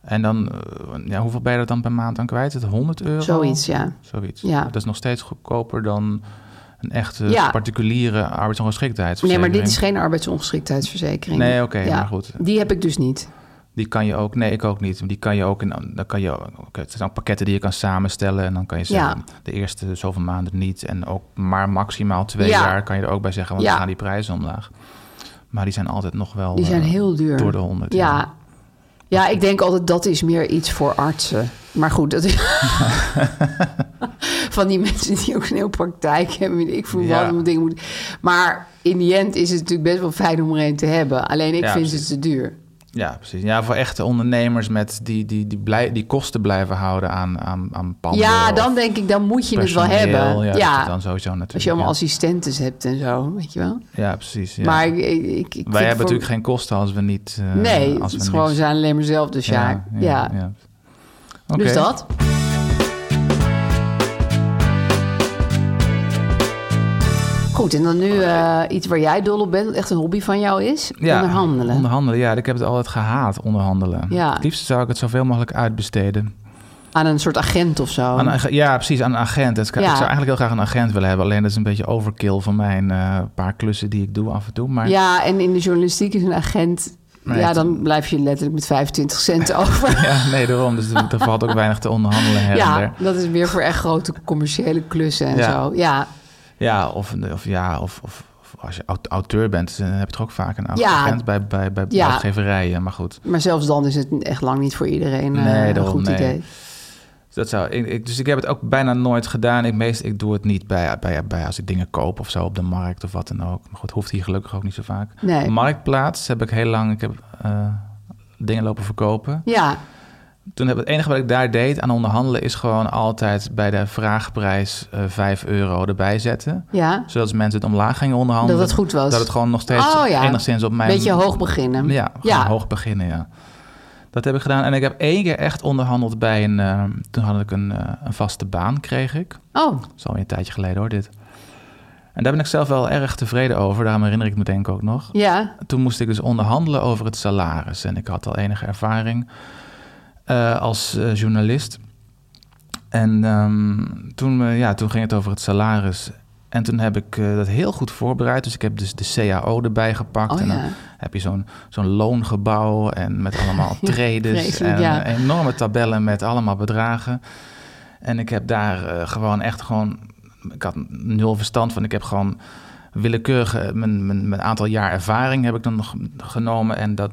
S6: En dan, eh, ja, hoeveel ben je er dan per maand aan kwijt? Het 100 euro?
S7: Zoiets, ja.
S6: Zoiets.
S7: Ja.
S6: Dat is nog steeds goedkoper dan een echte
S7: Ja.
S6: particuliere arbeidsongeschiktheidsverzekering.
S7: Nee, maar dit is geen arbeidsongeschiktheidsverzekering.
S6: Nee, oké, maar goed.
S7: Die heb ik dus niet.
S6: Die kan je ook, nee, ik ook niet. Die kan je ook in, dan kan je, ook- het zijn ook pakketten die je kan samenstellen. En dan kan je zeggen,
S7: Ja.
S6: de eerste zoveel maanden niet. En ook maar maximaal twee
S7: Ja.
S6: jaar kan je er ook bij zeggen, want
S7: Ja.
S6: dan gaan die prijzen omlaag. Maar die zijn altijd nog wel
S7: Die zijn
S6: eh,
S7: heel duur.
S6: door de 100.
S7: Ja. Ja, ik denk altijd dat is meer iets voor artsen. Maar goed, dat is... van die mensen die ook een heel praktijk hebben. weet Ik voel
S6: Ja.
S7: wat om dingen moeten... Maar in die end is het natuurlijk best wel fijn om er een te hebben. Alleen ik
S6: Ja,
S7: vind
S6: precies.
S7: ze te duur.
S6: Ja, precies. Ja, voor echte ondernemers met die, die, die, blij, die kosten blijven houden aan, aan, aan panden.
S7: ja,
S6: of
S7: dan denk ik, dan moet je het wel
S6: personeel.
S7: hebben.
S6: Ja,
S7: Ja,
S6: dat is dan sowieso natuurlijk,
S7: Als je allemaal
S6: ja.
S7: assistentes hebt en zo, weet je wel.
S6: Ja, precies. ja.
S7: Maar ik, ik, ik- ik vind
S6: Wij hebben
S7: voor-
S6: natuurlijk geen kosten als we niet... eh,
S7: Nee,
S6: als we
S7: het is gewoon
S6: niks-
S7: zijn alleen maar zelf de Sjaak. Ja,
S6: Oké.
S7: Dus dat. Goed, en dan nu eh, iets waar jij dol op bent, wat echt een hobby van jou is. Onderhandelen.
S6: Onderhandelen, ja. Ik heb het altijd gehaat, onderhandelen.
S7: Ja.
S6: Het liefst zou ik het zoveel mogelijk uitbesteden.
S7: Aan een soort agent of zo.
S6: Aan een ag- ja, precies, aan een agent. Het-
S7: Ja.
S6: Ik zou eigenlijk heel graag een agent willen hebben. Alleen dat is een beetje overkill van mijn eh, paar klussen die ik doe af en toe. Maar
S7: Ja, en in de journalistiek is een agent...
S6: Nee,
S7: ja,
S6: het-
S7: dan blijf je letterlijk met 25 cent over.
S6: Ja, nee, daarom. Dus er er valt ook weinig te onderhandelen her en der.
S7: ja, dat is meer voor echt grote commerciële klussen en
S6: Ja.
S7: zo. Ja,
S6: Ja, of, of, ja, of, of, of als je au- auteur bent, dan heb je toch ook vaak een
S7: Ja.
S6: agent bij, bij, bij
S7: Ja.
S6: uitgeverijen. Maar goed.
S7: maar zelfs dan is het echt lang niet voor iedereen eh,
S6: Nee,
S7: een
S6: daarom,
S7: goed
S6: nee.
S7: idee.
S6: Dus Dat zou, ik, ik- dus ik heb het ook bijna nooit gedaan. Ik, meest, ik doe het niet bij, bij, bij als ik dingen koop of zo op de markt of wat dan ook. Maar goed, hoeft hier gelukkig ook niet zo vaak.
S7: Nee.
S6: Marktplaats heb ik heel lang ik heb, eh, dingen lopen verkopen.
S7: Ja,
S6: Toen heb het enige wat ik daar deed aan onderhandelen is gewoon altijd bij de vraagprijs eh 5 euro erbij zetten.
S7: ja.
S6: Zodat als mensen het omlaag gingen onderhandelen.
S7: Dat het goed was.
S6: Dat het gewoon nog steeds
S7: Oh ja.
S6: enigszins op mijn...
S7: Beetje hoog beginnen.
S6: Ja, gewoon
S7: Ja.
S6: hoog beginnen, ja. Dat heb ik gedaan. En ik heb één keer echt onderhandeld bij een... eh, toen had ik een, eh, een vaste baan, kreeg ik.
S7: Oh,
S6: Dat is alweer een tijdje geleden hoor, dit. En daar ben ik zelf wel erg tevreden over. Daarom herinner ik me denk ik ook nog.
S7: ja.
S6: Toen moest ik dus onderhandelen over het salaris. En ik had al enige ervaring eh, als eh, journalist. En ehm, toen, eh, ja, toen ging het over het salaris. En toen heb ik eh, dat heel goed voorbereid. Dus ik heb dus de CAO erbij gepakt.
S7: Oh,
S6: en dan
S7: ja.
S6: heb je zo'n zo'n loongebouw en met allemaal tredes.
S7: vreselijk,
S6: en eh,
S7: ja.
S6: enorme tabellen met allemaal bedragen. En ik heb daar eh, gewoon echt gewoon... Ik had nul verstand van. Ik heb gewoon willekeurig eh, mijn, mijn, mijn aantal jaar ervaring heb ik dan nog genomen. En dat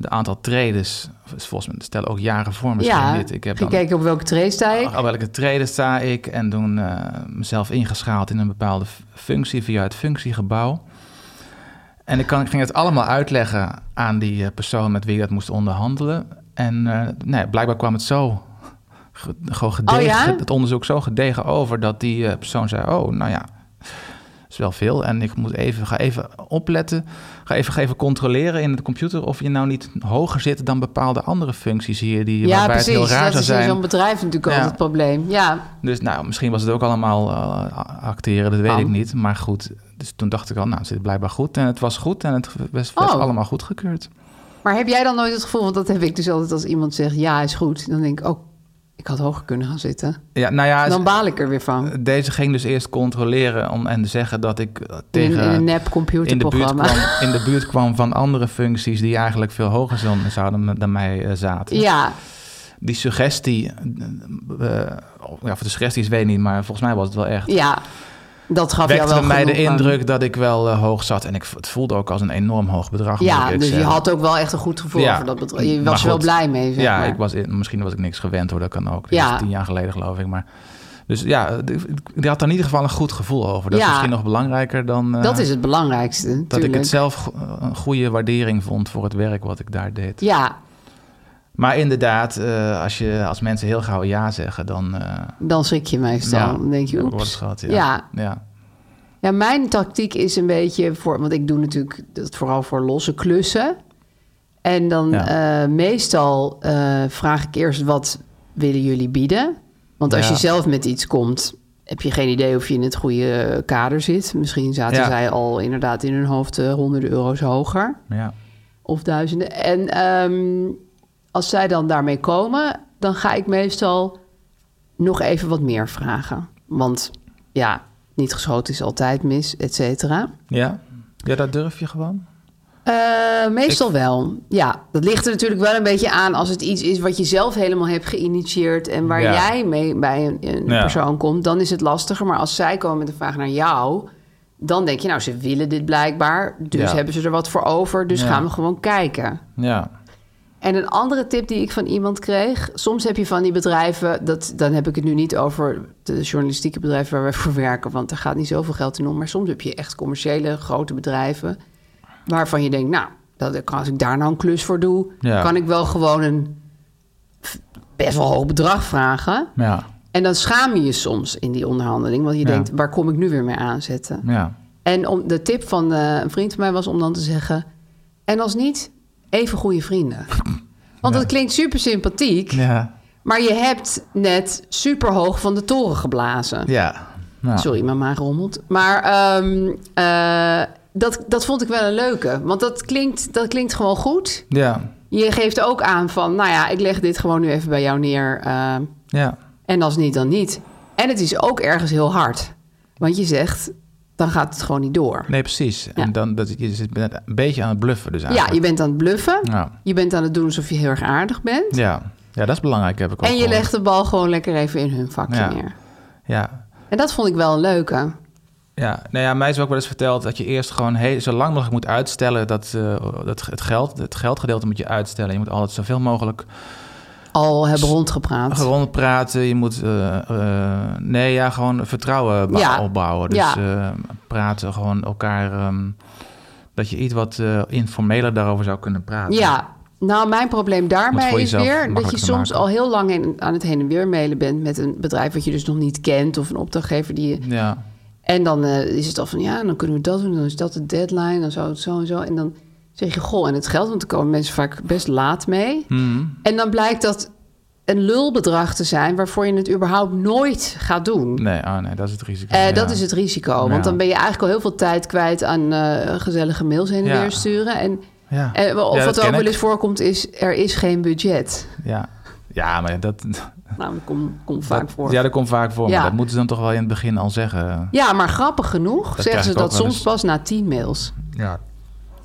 S6: de aantal tredes, volgens mij stellen ook jaren voor misschien
S7: ja.
S6: dit. Ik heb dan Ah,
S7: gekeken op welke trace sta ik.
S6: op welke treden sta ik en toen eh, mezelf ingeschaald in een bepaalde f- functie via het functiegebouw. En ik, kan, ik ging het allemaal uitleggen aan die eh, persoon met wie ik dat moest onderhandelen. En eh, nee, blijkbaar kwam het zo, ge- gewoon gedegen,
S7: Oh ja?
S6: het onderzoek zo gedegen over dat die eh, persoon zei: Oh, nou ja, is wel veel. En ik moet even, ga even opletten. Ga even, ga even controleren in de computer of je nou niet hoger zit dan bepaalde andere functies hier. Die,
S7: ja,
S6: waarbij het heel
S7: precies. Dat
S6: raar zou
S7: is in
S6: zijn.
S7: zo'n bedrijf natuurlijk
S6: Ja.
S7: altijd het probleem. Ja,
S6: Dus nou, misschien was het ook allemaal eh, acteren, dat weet
S7: Kan.
S6: ik niet. Maar goed, dus toen dacht ik al, nou, het zit blijkbaar goed. En het was goed en het was, was
S7: Oh.
S6: allemaal goedgekeurd.
S7: maar heb jij dan nooit het gevoel, want dat heb ik dus altijd als iemand zegt ja is goed. Dan denk ik, oh, ik had hoger kunnen gaan zitten.
S6: Ja, nou ja,
S7: Dan baal ik er weer van.
S6: deze ging dus eerst controleren om, en zeggen dat ik eh,
S7: In, een-
S6: tegen...
S7: in een nep
S6: in de, buurt
S7: computerprogramma.
S6: kwam, in de buurt kwam van andere functies die eigenlijk veel hoger zouden- zouden dan mij eh, zaten.
S7: ja,
S6: Die suggestie, eh, eh, ja, of de suggestie is weet ik niet, maar volgens mij was het wel echt.
S7: ja, dat gaf jou
S6: wekte
S7: wel
S6: bij mij de
S7: genoeg, maar-
S6: indruk dat ik wel eh, hoog zat. En ik, v- het voelde ook als een enorm hoog bedrag. moet ik
S7: Ja,
S6: eerlijk
S7: dus je
S6: zeggen.
S7: had ook wel echt een goed gevoel
S6: Ja,
S7: voor dat bedrag. Je
S6: maar
S7: was er wel
S6: goed.
S7: blij mee, zeg
S6: ja,
S7: maar.
S6: ik was, misschien was ik niks gewend hoor, dat kan ook. Dat
S7: Ja.
S6: is tien jaar geleden geloof ik. Maar, dus ja, ik- ik had daar in ieder geval een goed gevoel over. Dat
S7: Ja.
S6: is misschien nog belangrijker dan... eh,
S7: dat is het belangrijkste,
S6: dat ik het
S7: natuurlijk.
S6: zelf go- een goede waardering vond voor het werk wat ik daar deed.
S7: Ja,
S6: Maar inderdaad, eh, als, je, als mensen heel gauw ja zeggen, dan... eh,
S7: dan schrik je meestal.
S6: ja,
S7: dan denk je,
S6: wordt
S7: oeps.
S6: het gehad, ja.
S7: ja,
S6: ja.
S7: Ja, mijn tactiek is een beetje voor, want ik doe natuurlijk dat vooral voor losse klussen. En dan
S6: Ja.
S7: eh, meestal eh, vraag ik eerst wat willen jullie bieden? Want als
S6: Ja.
S7: je zelf met iets komt, heb je geen idee of je in het goede eh, kader zit. Misschien zaten
S6: Ja.
S7: zij al inderdaad in hun hoofd eh, honderden euro's hoger
S6: ja.
S7: of duizenden. En ehm, als zij dan daarmee komen, dan ga ik meestal nog even wat meer vragen. Want ja, niet geschoten is altijd mis, et cetera.
S6: Ja? Ja, dat durf je gewoon?
S7: Eh, meestal wel. Ja, dat ligt er natuurlijk wel een beetje aan als het iets is wat je zelf helemaal hebt geïnitieerd en waar
S6: Ja.
S7: jij mee bij een, een
S6: Ja.
S7: persoon komt, dan is het lastiger. Maar als zij komen met een vraag naar jou, dan denk je, nou, ze willen dit blijkbaar, dus
S6: Ja.
S7: hebben ze er wat voor over, dus
S6: Ja.
S7: gaan we gewoon kijken.
S6: Ja.
S7: En een andere tip die ik van iemand kreeg. Soms heb je van die bedrijven. Dat, dan heb ik het nu niet over de journalistieke bedrijven waar wij voor werken. Want daar gaat niet zoveel geld in om. Maar soms heb je echt commerciële grote bedrijven. Waarvan je denkt, nou, Dat, kan- als ik daar nou een klus voor doe,
S6: Ja.
S7: kan ik wel gewoon een f- best wel hoog bedrag vragen.
S6: Ja.
S7: En dan schaam je je soms in die onderhandeling, want je
S6: Ja.
S7: denkt, waar kom ik nu weer mee aanzetten?
S6: Ja.
S7: En om, de tip van eh, een vriend van mij was om dan te zeggen... en als niet, even goede vrienden. Want dat klinkt super sympathiek...
S6: Ja.
S7: maar je hebt net super hoog van de toren geblazen.
S6: Ja. Nou.
S7: Sorry, mijn maag rommelt. Maar ehm, eh, dat, dat vond ik wel een leuke. Want dat klinkt, dat klinkt gewoon goed.
S6: Ja.
S7: Je geeft ook aan van... nou ja, ik leg dit gewoon nu even bij jou neer... eh,
S6: Ja.
S7: en als niet, dan niet. En het is ook ergens heel hard. Want je zegt, dan gaat het gewoon niet door.
S6: Nee, precies. En dan dat, je zit net een beetje aan het bluffen dus
S7: Ja,
S6: eigenlijk.
S7: je bent aan het bluffen.
S6: Ja.
S7: Je bent aan het doen alsof je heel erg aardig bent.
S6: Ja. Ja, dat is belangrijk heb ik ook
S7: en je
S6: gehoord.
S7: legt de bal gewoon lekker even in hun vakje
S6: Ja.
S7: neer.
S6: Ja.
S7: En dat vond ik wel een leuke.
S6: Ja, nou ja, mij is ook wel eens verteld dat je eerst gewoon heel, zo lang mogelijk moet uitstellen dat, eh, dat het, geld, het geldgedeelte moet je uitstellen. Je moet altijd zoveel mogelijk
S7: Al hebben rondgepraat.
S6: Gewoon praten, je moet... eh, eh, nee, ja, gewoon vertrouwen bou-
S7: Ja.
S6: opbouwen. Dus
S7: Ja.
S6: eh, praten, gewoon elkaar... ehm, dat je iets wat eh, informeler daarover zou kunnen praten.
S7: Ja, nou mijn probleem
S6: Om het
S7: daarbij
S6: voor
S7: is
S6: jezelf
S7: weer dat je
S6: makkelijker te
S7: soms
S6: maken.
S7: al heel lang heen- aan het heen en weer mailen bent met een bedrijf wat je dus nog niet kent of een opdrachtgever die je...
S6: Ja,
S7: En dan eh, is het al van ja, dan kunnen we dat doen, dan is dat de deadline, dan zou het zo en zo. En dan zeg je goh, en het geld, want dan komen mensen vaak best laat mee.
S6: Mhm.
S7: En dan blijkt dat een lulbedrag te zijn waarvoor je het überhaupt nooit gaat doen.
S6: nee, ah, nee, dat is het risico.
S7: Eh,
S6: Ja.
S7: Dat is het risico.
S6: Ja.
S7: Want dan ben je eigenlijk al heel veel tijd kwijt aan eh, gezellige mails heen en
S6: Ja.
S7: weer sturen. En,
S6: Ja.
S7: en
S6: Ja,
S7: of
S6: dat
S7: wat ook
S6: ken
S7: Eh, wel
S6: ik.
S7: eens voorkomt is, er is geen budget.
S6: Ja, ja maar dat...
S7: Nou, dat komt komt vaak voor.
S6: Ja, dat komt vaak voor.
S7: Ja.
S6: Maar dat moeten ze dan toch wel in het begin al zeggen.
S7: Ja, maar grappig genoeg
S6: Dat
S7: zeggen
S6: krijg
S7: ze
S6: ik ook
S7: dat
S6: wel
S7: soms
S6: eens.
S7: pas na tien mails.
S6: Ja.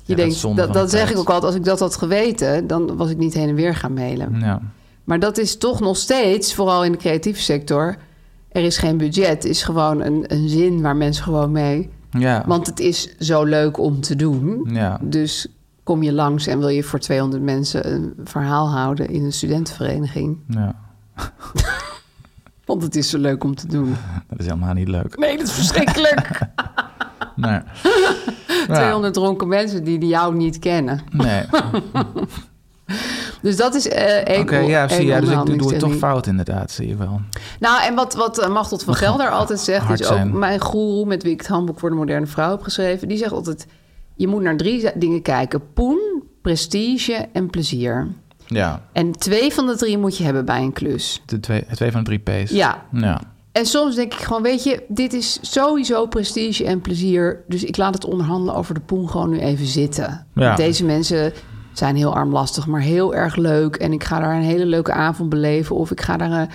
S7: Je denkt, dat, dat, zeg ik ook altijd, als ik dat had geweten, dan was ik niet heen en weer gaan mailen.
S6: Ja.
S7: Maar dat is toch nog steeds, vooral in de creatieve sector, er is geen budget, is gewoon een, een zin waar mensen gewoon mee.
S6: Ja.
S7: Want het is zo leuk om te doen.
S6: Ja.
S7: Dus kom je langs en wil je voor 200 mensen een verhaal houden in een studentenvereniging.
S6: ja.
S7: Want het is zo leuk om te doen.
S6: Dat is helemaal niet leuk.
S7: Nee, dat is verschrikkelijk.
S6: Nee.
S7: 200 dronken mensen die die jou niet kennen.
S6: Nee.
S7: Dus dat is eh één
S6: Oké, ja,
S7: één
S6: zie je. Ja, dus ik doe het toch
S7: onderhandelingstechniek.
S6: fout inderdaad, zie je wel.
S7: Nou, en wat, wat eh, Machtel van Gelder altijd zegt,
S6: hard
S7: is ook
S6: zijn.
S7: mijn goeroe met wie ik het handboek voor de moderne vrouw heb geschreven, die zegt altijd: je moet naar drie za- dingen kijken: poen, prestige en plezier.
S6: Ja.
S7: En twee van de drie moet je hebben bij een klus.
S6: De twee, twee van de drie P's.
S7: Ja.
S6: Ja.
S7: En soms denk ik gewoon, weet je, dit is sowieso prestige en plezier. Dus ik laat het onderhandelen over de poen gewoon nu even zitten.
S6: Ja.
S7: Want Deze mensen zijn heel armlastig, maar heel erg leuk. En ik ga daar een hele leuke avond beleven. Of ik ga daar een,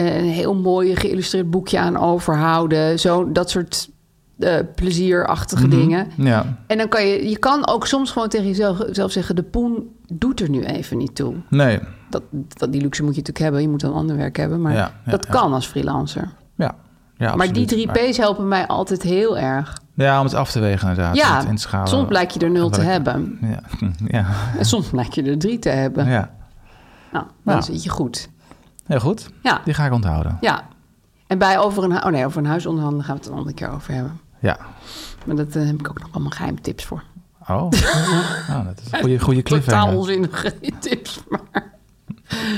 S7: een heel mooi geïllustreerd boekje aan overhouden. Zo, dat soort eh, plezierachtige dingen.
S6: Mhm. Ja.
S7: En dan kan je, je kan ook soms gewoon tegen jezelf zelf zeggen... de poen doet er nu even niet toe.
S6: Nee.
S7: Dat, dat, die luxe moet je natuurlijk hebben. Je moet een ander werk hebben. Maar
S6: Ja, ja,
S7: dat
S6: ja.
S7: kan als freelancer.
S6: Ja. ja
S7: Maar
S6: absoluut.
S7: die drie P's helpen mij altijd heel erg.
S6: Ja, om het af te wegen inderdaad. om het
S7: ja,
S6: in te schalen.
S7: soms blijkt je er nul te
S6: Welke-
S7: hebben.
S6: Ja. ja.
S7: En soms blijkt je er drie te hebben.
S6: ja.
S7: Nou, dan
S6: Ja.
S7: zit je goed.
S6: Heel goed.
S7: Ja.
S6: Die ga ik onthouden.
S7: Ja. En bij over een, hu- oh nee, over een huisonderhandelen gaan we het een andere keer over hebben.
S6: Ja.
S7: Maar dat eh, heb ik ook nog allemaal geheime tips voor.
S6: Oh. oh dat is een goede, goede
S7: Totaal
S6: cliffhanger.
S7: onzinnige tips, maar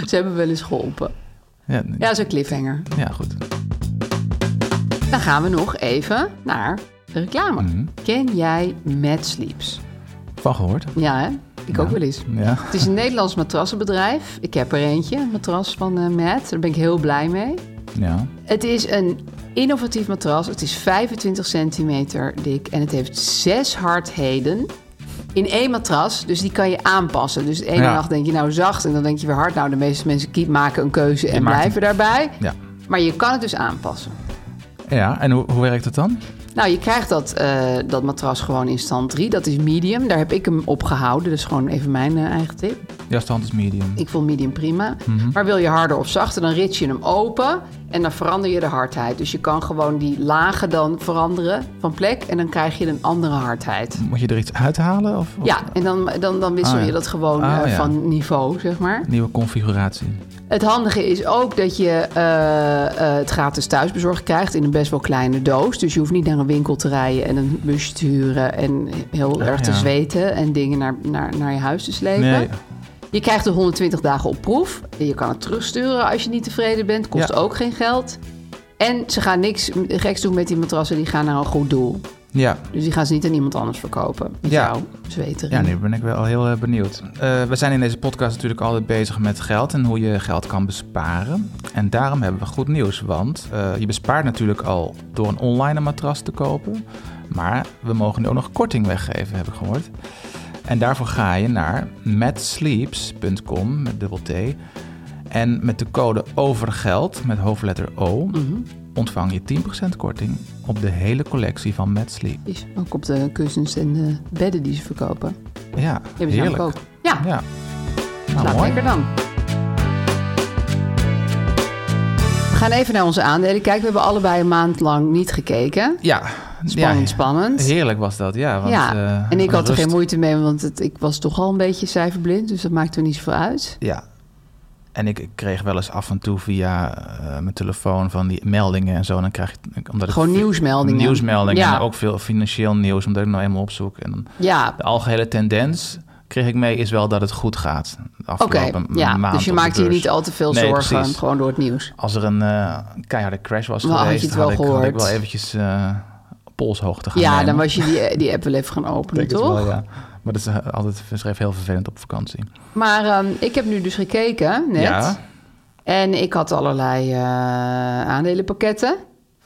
S7: ze hebben wel eens geholpen.
S6: Ja.
S7: Ja, zo'n cliffhanger.
S6: ja, goed.
S7: Dan gaan we nog even naar de reclame.
S6: Mhm.
S7: Ken jij Mad Sleeps?
S6: Van gehoord.
S7: Ja, hè? Ik ook wel eens.
S6: Ja.
S7: Het is een Nederlands matrassenbedrijf. Ik heb er eentje, een matras van eh Matt. Daar ben ik heel blij mee.
S6: Ja.
S7: Het is een innovatief matras. Het is 25 centimeter dik en het heeft zes hardheden in één matras. Dus die kan je aanpassen. Dus de ene
S6: Ja.
S7: nacht denk je nou zacht en dan denk je weer hard. Nou, de meeste mensen kie- maken een keuze en
S6: maakt
S7: blijven daarbij.
S6: Ja.
S7: Maar je kan het dus aanpassen.
S6: Ja. En hoe, hoe werkt het dan?
S7: Nou, je krijgt dat, eh, dat matras gewoon in stand 3. Dat is medium. Daar heb ik hem op gehouden. Dat is gewoon even mijn eh, eigen tip.
S6: Ja, stand is medium.
S7: Ik vond medium prima.
S6: Mhm.
S7: Maar wil je harder of zachter, dan rit je hem open en dan verander je de hardheid. Dus je kan gewoon die lagen dan veranderen van plek en dan krijg je een andere hardheid.
S6: Moet je er iets uithalen? Of, of
S7: Ja, en dan, dan, dan wissel
S6: Ah, ja.
S7: je dat gewoon
S6: Ah,
S7: eh,
S6: ja.
S7: van niveau, zeg maar.
S6: Nieuwe configuratie.
S7: Eh, Het handige is ook dat je eh, eh, het gratis thuisbezorgd krijgt in een best wel kleine doos. Dus je hoeft niet naar een winkel te rijden en een busje te huren en heel
S6: Ah,
S7: erg te
S6: ja.
S7: zweten en dingen naar, naar, naar je huis te slepen.
S6: Nee.
S7: Je krijgt er 120 dagen op proef. Je kan het terugsturen als je niet tevreden bent. Kost
S6: Ja.
S7: ook geen geld. En ze gaan niks geks doen met die matrassen. Die gaan naar een goed doel.
S6: Ja.
S7: Dus die gaan ze niet aan iemand anders verkopen. Met
S6: Ja.
S7: jou, zweter.
S6: Ja, nu ben ik wel heel eh, benieuwd. Eh, we zijn in deze podcast natuurlijk altijd bezig met geld en hoe je geld kan besparen. En daarom hebben we goed nieuws, want eh, je bespaart natuurlijk al door een online matras te kopen. Maar we mogen nu ook nog korting weggeven, heb ik gehoord. En daarvoor ga je naar matsleeps.com met dubbel T. En met de code OVERGELD met hoofdletter O
S7: Mhm.
S6: ontvang je 10% korting op de hele collectie van Mad Sleep.
S7: Is ook op de kussens en de bedden die ze verkopen.
S6: Ja,
S7: Die hebben ze namelijk
S6: heerlijk.
S7: ook. Ja,
S6: Ja. Nou,
S7: slaat
S6: mooi.
S7: lekker dan. We gaan even naar onze aandelen kijken. We hebben allebei een maand lang niet gekeken.
S6: Ja.
S7: Spannend,
S6: ja,
S7: spannend.
S6: Heerlijk was dat, ja. Want,
S7: ja,
S6: eh,
S7: en ik had er
S6: rust-
S7: geen moeite mee, want het, ik was toch al een beetje cijferblind. Dus dat maakte me niet zoveel uit.
S6: Ja. En ik, ik kreeg wel eens af en toe via eh, mijn telefoon van die meldingen en zo. En dan krijg ik... Omdat ik
S7: Gewoon
S6: vi-
S7: nieuwsmeldingen.
S6: Nieuwsmeldingen
S7: Ja.
S6: en ook veel financieel nieuws, omdat ik nou eenmaal opzoek. En dan,
S7: Ja,
S6: de algehele tendens kreeg ik mee is wel dat het goed gaat. de afgelopen
S7: ja,
S6: maand
S7: dus je
S6: op de
S7: maakte je
S6: beurs.
S7: niet al te veel
S6: Nee,
S7: zorgen,
S6: precies.
S7: gewoon door het nieuws.
S6: Als er een eh, keiharde crash was
S7: Maar had je
S6: geweest,
S7: het wel
S6: ik, had ik
S7: gehoord?
S6: wel eventjes eh polshoogte gaan
S7: Ja, dan
S6: nemen.
S7: was je die, die app wel even gaan openen,
S6: Ik denk het
S7: toch?
S6: wel, ja. Maar dat is eh, altijd schreef heel vervelend op vakantie.
S7: Maar ehm, ik heb nu dus gekeken, net.
S6: Ja.
S7: En ik had allerlei eh, aandelenpakketten.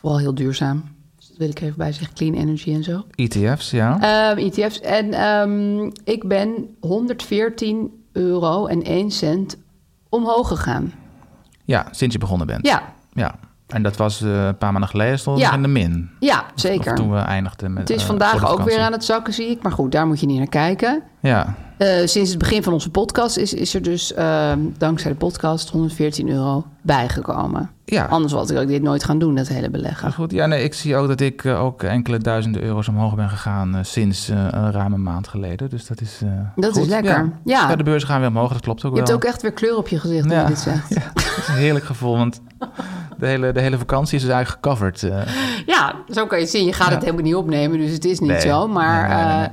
S7: Vooral heel duurzaam. Dus dat wil ik er even bij zeggen, clean energy en zo.
S6: ETF's, E ja.
S7: Ehm, ETF's. En ehm, ik ben 114 euro en 1 cent omhoog gegaan.
S6: Ja, sinds je begonnen bent.
S7: Ja,
S6: Ja. En dat was eh, een paar maanden geleden stond het
S7: Ja.
S6: in de min.
S7: ja
S6: Of-
S7: zeker.
S6: Of toen we eindigden met
S7: het is
S6: eh, voor de
S7: vandaag ook
S6: vakantie.
S7: weer aan het zakken, zie ik. Maar goed, daar moet je niet naar kijken.
S6: Ja,
S7: Eh, sinds het begin van onze podcast is, is er dus ehm, dankzij de podcast 114 euro bijgekomen.
S6: Ja.
S7: Anders had ik ook dit nooit gaan doen, dat hele beleggen.
S6: maar goed. Ja, nee, ik zie ook dat ik eh, ook enkele duizenden euro's omhoog ben gegaan eh, sinds eh, een ruim een maand geleden. Dus dat is eh,
S7: Dat
S6: goed.
S7: is lekker.
S6: Ja.
S7: Ja.
S6: Ja, de beurzen gaan weer omhoog, dat klopt ook
S7: Je hebt
S6: wel.
S7: ook echt weer kleur op je gezicht toen
S6: Ja.
S7: je dit zegt. Ja,
S6: Dat is een heerlijk gevoel, want de hele, de hele vakantie is dus eigenlijk gecoverd. eh.
S7: zo kan je het zien. Je gaat het helemaal niet opnemen, dus het is niet
S6: Nee.
S7: zo. Maar
S6: Nee, nee, nee,
S7: eh,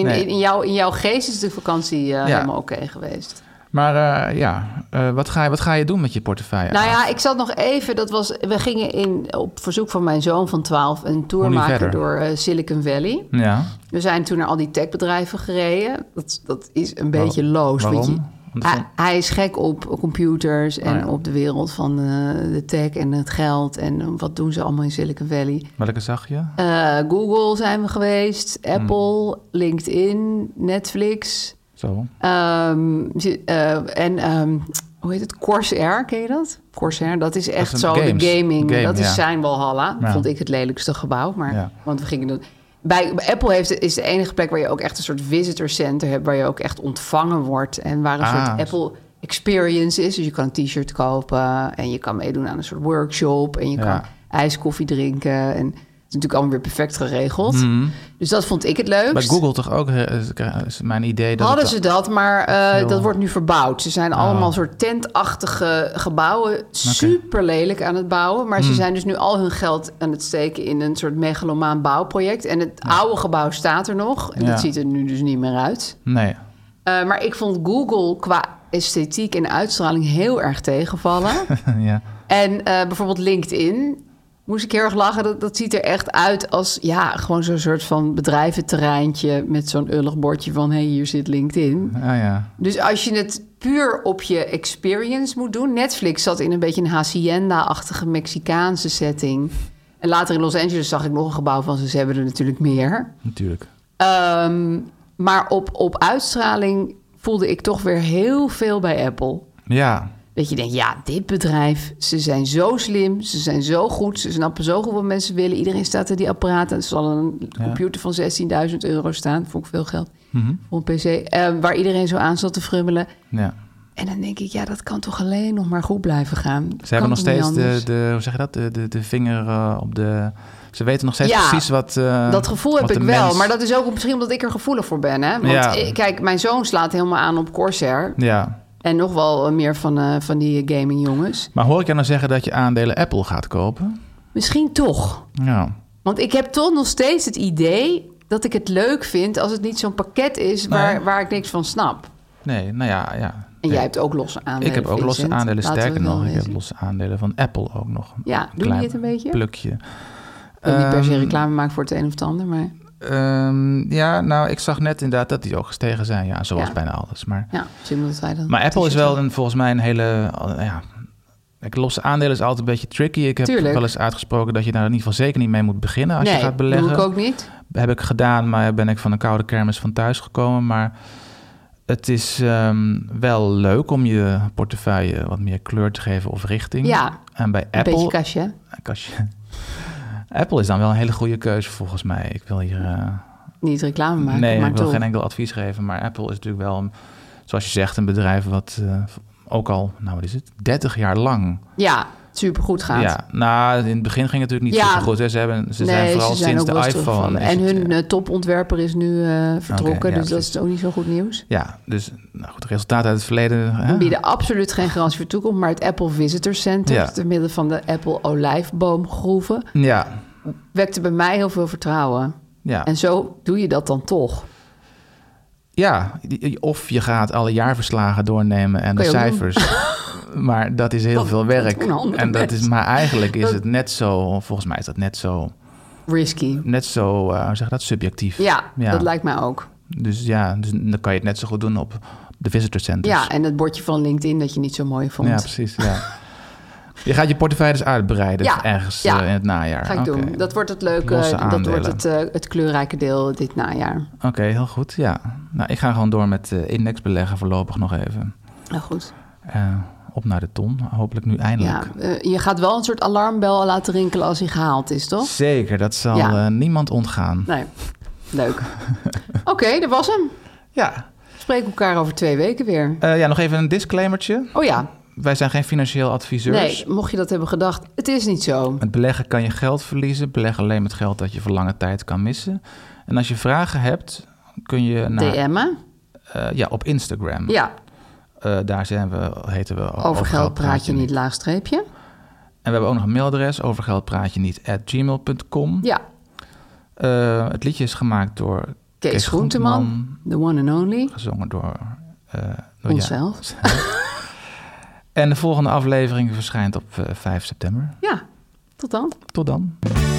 S7: in,
S6: Nee.
S7: In, in, jouw, in jouw geest is de vakantie eh, helemaal oké geweest.
S6: Maar eh, ja, eh, wat, ga je, wat ga je doen met je portefeuille?
S7: Nou ja, ik zat nog even. Dat was, we gingen in, op verzoek van mijn zoon van 12 een tour
S6: Hoe nu
S7: maken
S6: verder?
S7: door eh, Silicon Valley.
S6: Ja.
S7: We zijn toen naar al die techbedrijven gereden. Dat, dat is een beetje loos. want
S6: waarom?
S7: je- Ah.
S6: Want
S7: hij,
S6: van-
S7: hij is gek op computers en
S6: Oh ja.
S7: op de wereld van eh, de tech en het geld. En eh, wat doen ze allemaal in Silicon Valley.
S6: Welke zag je?
S7: Eh, Google zijn we geweest,
S6: Hmm.
S7: Apple, LinkedIn, Netflix.
S6: Zo.
S7: ehm, zi- eh, en ehm, hoe heet het? Corsair, ken je dat? Corsair, dat is echt
S6: een
S7: zo
S6: games-
S7: de gaming.
S6: game,
S7: dat is
S6: ja.
S7: zijn walhalla.
S6: Ja.
S7: Vond ik het lelijkste gebouw, maar
S6: Ja.
S7: want we gingen doen. Bij bij Apple heeft, is de enige plek waar je ook echt een soort visitor center hebt, waar je ook echt ontvangen wordt en waar een
S6: Ah.
S7: soort Apple experience is. Dus je kan een t-shirt kopen en je kan meedoen aan een soort workshop en je
S6: Ja.
S7: kan ijskoffie drinken. En het is natuurlijk allemaal weer perfect geregeld.
S6: Mhm.
S7: Dus dat vond ik het leukst.
S6: Bij Google toch ook, eh, is- is mijn idee dat...
S7: Hadden
S6: het- Oh.
S7: ze dat, maar eh,
S6: veel-
S7: dat wordt nu verbouwd. Ze zijn allemaal soort tentachtige gebouwen. Super lelijk aan het bouwen. Maar ze
S6: Hmm.
S7: zijn dus nu al hun geld aan het steken in een soort megalomaan bouwproject. En het oude gebouw staat er nog. En
S6: Ja.
S7: dat ziet er nu dus niet meer uit.
S6: Nee.
S7: Eh, maar ik vond Google qua esthetiek en uitstraling heel erg tegenvallen.
S6: ja.
S7: en eh, bijvoorbeeld LinkedIn. Moest ik heel erg lachen. Dat, dat ziet er echt uit als ja, gewoon zo'n soort van bedrijventerreintje met zo'n ullig bordje van hé, hey, hier zit LinkedIn.
S6: Ah ja.
S7: Dus als je het puur op je experience moet doen. Netflix zat in een beetje een hacienda-achtige Mexicaanse setting. En later in Los Angeles zag ik nog een gebouw van ze. Ze hebben er natuurlijk meer.
S6: Natuurlijk.
S7: Ehm, maar op, op uitstraling voelde ik toch weer heel veel bij Apple.
S6: Ja.
S7: Dat je denkt, ja, dit bedrijf, ze zijn zo slim, ze zijn zo goed, ze snappen zo goed wat mensen willen. Iedereen staat er die apparaten. Er zal een
S6: Ja.
S7: computer van 16.000 euro staan, vond ik veel geld, voor een pc. eh, waar iedereen zo aan zat te frummelen.
S6: ja.
S7: En dan denk ik, ja, dat kan toch alleen nog maar goed blijven gaan.
S6: Ze hebben nog steeds de, de, hoe zeg je dat, de, de, de vinger eh, op de... Ze weten nog steeds
S7: Ja,
S6: precies wat eh,
S7: dat gevoel
S6: wat
S7: heb
S6: de
S7: ik wel,
S6: mens-
S7: maar dat is ook misschien omdat ik er gevoelig voor ben. Hè? Want
S6: Ja.
S7: eh, kijk, mijn zoon slaat helemaal aan op Corsair.
S6: Ja,
S7: En nog wel meer van, eh, van die gaming jongens.
S6: Maar hoor ik jou nou zeggen dat je aandelen Apple gaat kopen?
S7: Misschien toch.
S6: Ja.
S7: Want ik heb toch nog steeds het idee dat ik het leuk vind als het niet zo'n pakket is waar,
S6: Nee.
S7: waar ik niks van snap.
S6: Nee, nou ja, ja.
S7: En jij hebt ook losse aandelen.
S6: Ik heb ook losse
S7: Vincent.
S6: aandelen,
S7: Laten we
S6: sterker
S7: wel
S6: nog. Ik heb
S7: wezen.
S6: losse aandelen van Apple ook nog.
S7: Ja, doe je het een beetje?
S6: plukje.
S7: Ik wil niet per se
S6: Ehm,
S7: reclame maken voor het een of het ander, maar
S6: ehm, ja, nou, ik zag net inderdaad dat die ook gestegen zijn. Ja, zoals
S7: Ja.
S6: bijna alles. Maar,
S7: ja, zin dat wij dan.
S6: maar Apple is
S7: t-shirts
S6: wel een, volgens mij een hele... al- Ja, ik, losse aandelen is altijd een beetje tricky. Ik heb
S7: Tuurlijk.
S6: wel eens uitgesproken dat je daar in ieder geval zeker niet mee moet beginnen
S7: hebben.
S6: Nou, als
S7: nee,
S6: je gaat beleggen.
S7: doe ik ook niet.
S6: Heb ik gedaan, maar ben ik van een koude kermis van thuis gekomen. Maar het is ehm, wel leuk om je portefeuille wat meer kleur te geven of richting.
S7: Ja,
S6: en bij
S7: Een beetje
S6: Apple.
S7: kastje. hè?
S6: kastje. Apple is dan wel een hele goede keuze volgens mij. Ik wil hier. eh,
S7: Niet reclame maken,
S6: nee,
S7: maar
S6: ik wil
S7: toch.
S6: geen enkel advies geven. Maar Apple is natuurlijk wel, een- zoals je zegt, een bedrijf wat eh, ook al, nou wat is het, 30 jaar lang.
S7: Ja, supergoed gaat.
S6: Ja, nou, in het begin ging het natuurlijk niet
S7: Ja.
S6: super goed. Ze, hebben, ze
S7: Nee,
S6: zijn vooral
S7: ze zijn
S6: sinds
S7: ook
S6: de
S7: wel stuk
S6: iPhone.
S7: van.
S6: is
S7: En
S6: het-
S7: hun eh, topontwerper is nu eh, vertrokken,
S6: ja,
S7: dus dat is ook niet zo goed nieuws.
S6: Ja, dus nou goed, resultaten uit het verleden.
S7: We
S6: Hè?
S7: bieden absoluut geen garantie voor toekomst, maar het Apple Visitor Center, dus
S6: Ja.
S7: te midden van de Apple olijfboomgroeven,
S6: Ja,
S7: wekte bij mij heel veel vertrouwen.
S6: ja.
S7: En zo doe je dat dan toch.
S6: ja, die- of je gaat alle jaarverslagen doornemen en de
S7: Kan je ook doen.
S6: cijfers. maar dat is heel veel werk.
S7: doen andere
S6: En dat is,
S7: mensen.
S6: maar eigenlijk is
S7: Dat-
S6: het net zo, volgens mij is dat net zo,
S7: Risky.
S6: net zo eh, hoe zeg je dat, subjectief.
S7: Ja, dat lijkt mij ook.
S6: Dus ja, dus dan kan je het net zo goed doen op de visitorcenters.
S7: Ja, en het bordje van LinkedIn dat je niet zo mooi vond.
S6: Dus- ja precies. Ja. je gaat je portefeuille dus uitbreiden
S7: Ja,
S6: ergens
S7: ja.
S6: eh, in het najaar.
S7: Ga ik
S6: Oké.
S7: doen. Dat wordt het leuke,
S6: Losse
S7: dat wordt
S6: aandelen.
S7: het, eh, het kleurrijke deel dit najaar.
S6: Oké, heel goed. Ja. Nou, ik ga gewoon door met eh, indexbeleggen voorlopig nog even.
S7: Nou goed.
S6: Eh, op naar de ton, hopelijk nu eindelijk.
S7: Ja, eh, je gaat wel een soort alarmbel laten rinkelen als hij gehaald is, toch?
S6: Zeker, dat zal
S7: Ja. Nou.
S6: eh, niemand ontgaan.
S7: Nee, leuk. Oké, dat was hem.
S6: Ja.
S7: Spreek elkaar over twee weken weer.
S6: Eh, ja, nog even een disclaimertje.
S7: Oh ja,
S6: Wij zijn geen financieel adviseurs.
S7: nee, mocht je dat hebben gedacht, het is niet zo.
S6: Met beleggen kan je geld verliezen. Beleg alleen met geld dat je voor lange tijd kan missen. En als je vragen hebt, kun je
S7: Nou,
S6: naar...
S7: DM'en?
S6: eh, ja, op Instagram.
S7: Ja,
S6: Eh, daar zijn we, heten we...
S7: over geld praat je niet, laagstreepje.
S6: En we hebben ook nog een mailadres, overgeldpraatje niet, at gmail.com.
S7: Ja,
S6: Eh, het liedje is gemaakt door Kees,
S7: Kees, Groenteman, the one and only.
S6: gezongen door, eh, door
S7: Onszelf.
S6: jou. En de volgende aflevering verschijnt op eh, 5 september.
S7: Ja, tot dan.
S6: Tot dan.